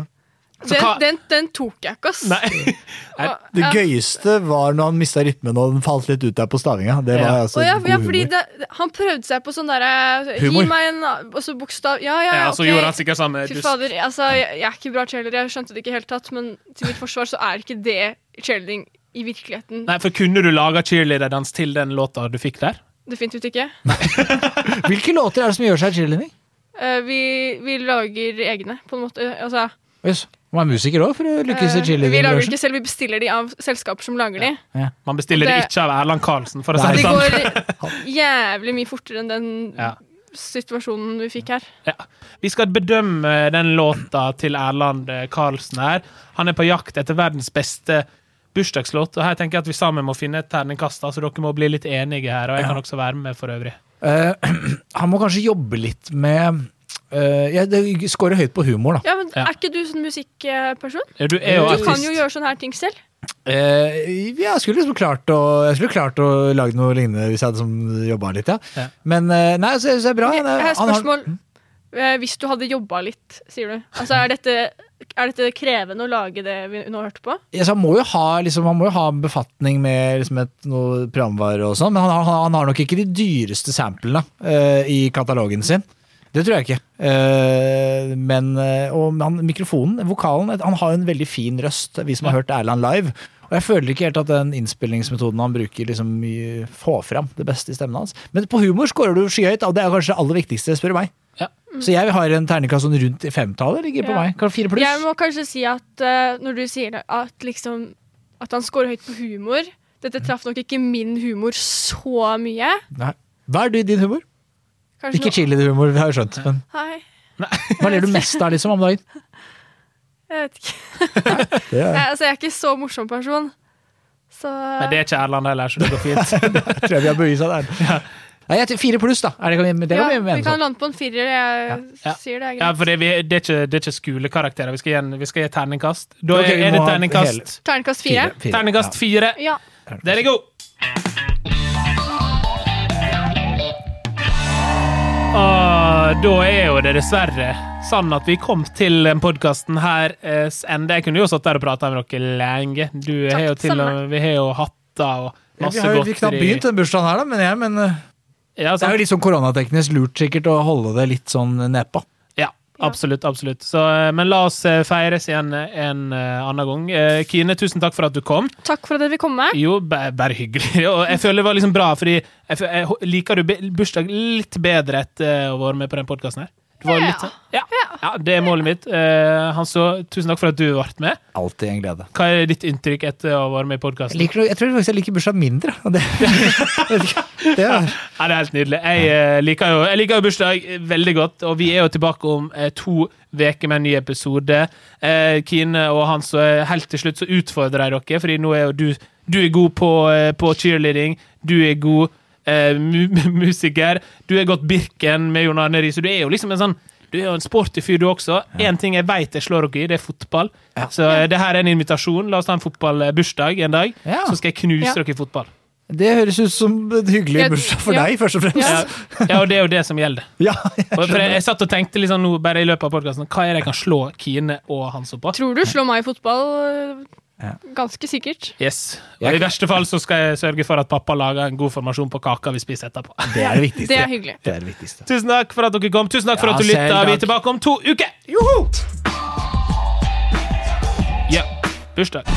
Den,
hva-
den, den tok jeg ikke, ass.
Nei. Nei.
Å,
Det
ja.
gøyeste var når han mista rytmen og den falt litt ut der på stavinga. Det var
Ja.
altså
Å ja,
god
ja, fordi
humor.
det, han prøvde seg på sånn derre Gi
Humor.
meg en og så bokstav Ja, ja,
Ja,
ja,
så
ok.
gjorde han sikkert samme
Fy
dust.
fader, altså, jeg, jeg er ikke bra cheerleader, jeg skjønte det ikke helt tatt, men til mitt forsvar så er ikke det cheerleading i virkeligheten.
Nei, for kunne du laga cheerleader-dans til den låta du fikk der?
Definitivt ikke.
Hvilke låter er det som gjør seg cheerleading?
Eh, vi, vi lager egne, på en måte. Altså,
Yes. Man er musiker òg, for å lykkes i
eh, vi lager det
cheerleading-bransjen.
ikke selv, vi bestiller de av selskaper som lager de.
Man bestiller det,
Det-
ikke av Erland Karlsen, for å si
Nei.
det
Det
sånn.
går jævlig mye fortere enn den
Ja.
situasjonen vi fikk her.
Ja. Vi skal bedømme eh, den låta til Erland eh, Karlsen her. Han er på jakt etter verdens beste bursdagslåt, og her tenker jeg at vi sammen må finne et terningkast, da, så dere må bli litt enige her, og jeg kan også være med for øvrig.
Eh, han må kanskje jobbe litt med eh, ja, det Skårer høyt på humor, da.
Ja, men
Ja.
Er ikke du sånn musikkperson?
Ja, Du er jo
Du kan
artist.
jo gjøre sånne her ting selv.
Eh, ja, jeg skulle liksom klart å, jeg skulle klart å lage noe lignende hvis jeg hadde som jobba litt, ja.
Ja.
Men eh, nei, så, så er det bra.
Jeg har et
Han har- Mm.
spørsmål. Eh, Hvis du hadde jobba litt, sier du. Altså, er dette, er dette krevende å lage det vi nå hørte på?
Ja, så han, må jo ha, liksom, han må jo ha en befatning med liksom, et, noe programvare og sånn, men han, har- han har nok ikke de dyreste samplene eh, i katalogen sin. Det tror jeg ikke. Eh, men eh, og han, mikrofonen, vokalen, et- han har jo en veldig fin røst, vi som har hørt Erland live. Og jeg føler ikke helt at den innspillingsmetoden han bruker, liksom, i- får fram det beste i stemmen hans. Men på humor scorer du skyhøyt, og det er kanskje det aller viktigste, spør du meg.
Ja.
Så jeg har en terningkast sånn rundt i femtallet, ligger på
Ja.
meg. Kan fire pluss.
Jeg må kanskje si at eh, når du sier det, at liksom At han scorer høyt på humor Dette traff nok ikke min humor så mye.
Nei. Hva er du i din humor?
Kanskje
Ikke cheerleader-humor, vi har jo skjønt. Men
noe- Nei,
hva ler du mest av liksom om dagen?
jeg vet ikke.
Det
Jeg, altså, jeg er ikke så morsom person. Så
Nei, det er ikke Erland heller, så det går fint.
tror jeg vi har bevisa der. Nei, jeg tror fire pluss, da. Er det, kan vi- det
ja,
kan vi
vi
mene
kan
sånn.
lande på en firer. Jeg
Ja.
sier det er
Ja,
greit.
for det, er vi, det, er ikke, det er ikke skolekarakterer. Vi skal gi, en- vi skal gi et terningkast. Da
Ok, vi
er
må
det
ha
terningkast,
Terningkast fire.
Fire,
terningkast fire.
Ja.
Der er god! Ah, da er jo det dessverre sånn at vi kom til den podkasten her eh, ende. Jeg kunne jo satt der og prata med dere lenge. Du har jo til og
samme.
Vi har jo hatter og
Ja.
masse
Vi har jo
godt
knapt begynt den bursdagen her, da, men, jeg, men eh,
Ja,
det er
sant?
jo litt sånn koronateknisk lurt sikkert å holde det litt sånn nedpå.
ja. Absolutt. absolutt. Så, eh, men la oss eh, feires igjen eh, en eh, annen gang. Eh, Kine, tusen takk for at du kom.
Takk for at jeg fikk komme.
Jo, bæ- bare hyggelig. Og jeg føler det var liksom bra, fordi jeg, fø- jeg hå- liker du be- bursdag litt bedre etter å ha vært med på den podkasten her. Du var
Ja.
litt sånn ja. ja, det er målet mitt. Eh, Hanso, tusen takk for at du ble med.
Alltid en glede.
Hva er ditt inntrykk etter å ha vært med i podkasten?
Jeg, liker, jeg tror faktisk jeg liker bursdag mindre. Og det, det er,
Ja, det er helt nydelig. Jeg, eh, liker jo, jeg liker jo bursdag eh, veldig godt, og vi er jo tilbake om eh, to uker med en ny episode. Eh, Kine og Hans, og eh, helt til slutt så utfordrer jeg dere, fordi nå er jo du, du er god på, eh, på cheerleading, du er god eh, mu musiker, du er godt Birken med Jon Arne Riise, du er jo liksom en sånn du er jo en sporty fyr, du også. Én ting jeg veit jeg slår dere i, det er fotball. Så eh, det her er en invitasjon. La oss ta en fotballbursdag en dag,
Ja.
så skal jeg knuse
Ja.
dere i fotball.
det høres ut som en hyggelig
Ja,
bursdag for
ja.
deg, først og
Ja,
fremst.
ja og det er jo det som gjelder.
Ja,
Og For jeg, jeg satt og tenkte liksom nå, bare i løpet av podcasten, hva er det jeg kan slå Kine og Hanso på?
Tror du slår meg i fotball? eh,
Ja.
Ganske sikkert.
Yes. Og I verste fall så skal jeg sørge for at pappa lager en god formasjon på kaka vi spiser etterpå.
Det er det viktigste.
Det er hyggelig.
Det er det viktigste.
Tusen takk for at dere kom. Tusen takk for
Ja,
at du
selv
lytta. Vi
takk.
er tilbake om to uker! Joho! Ja. Bursdag.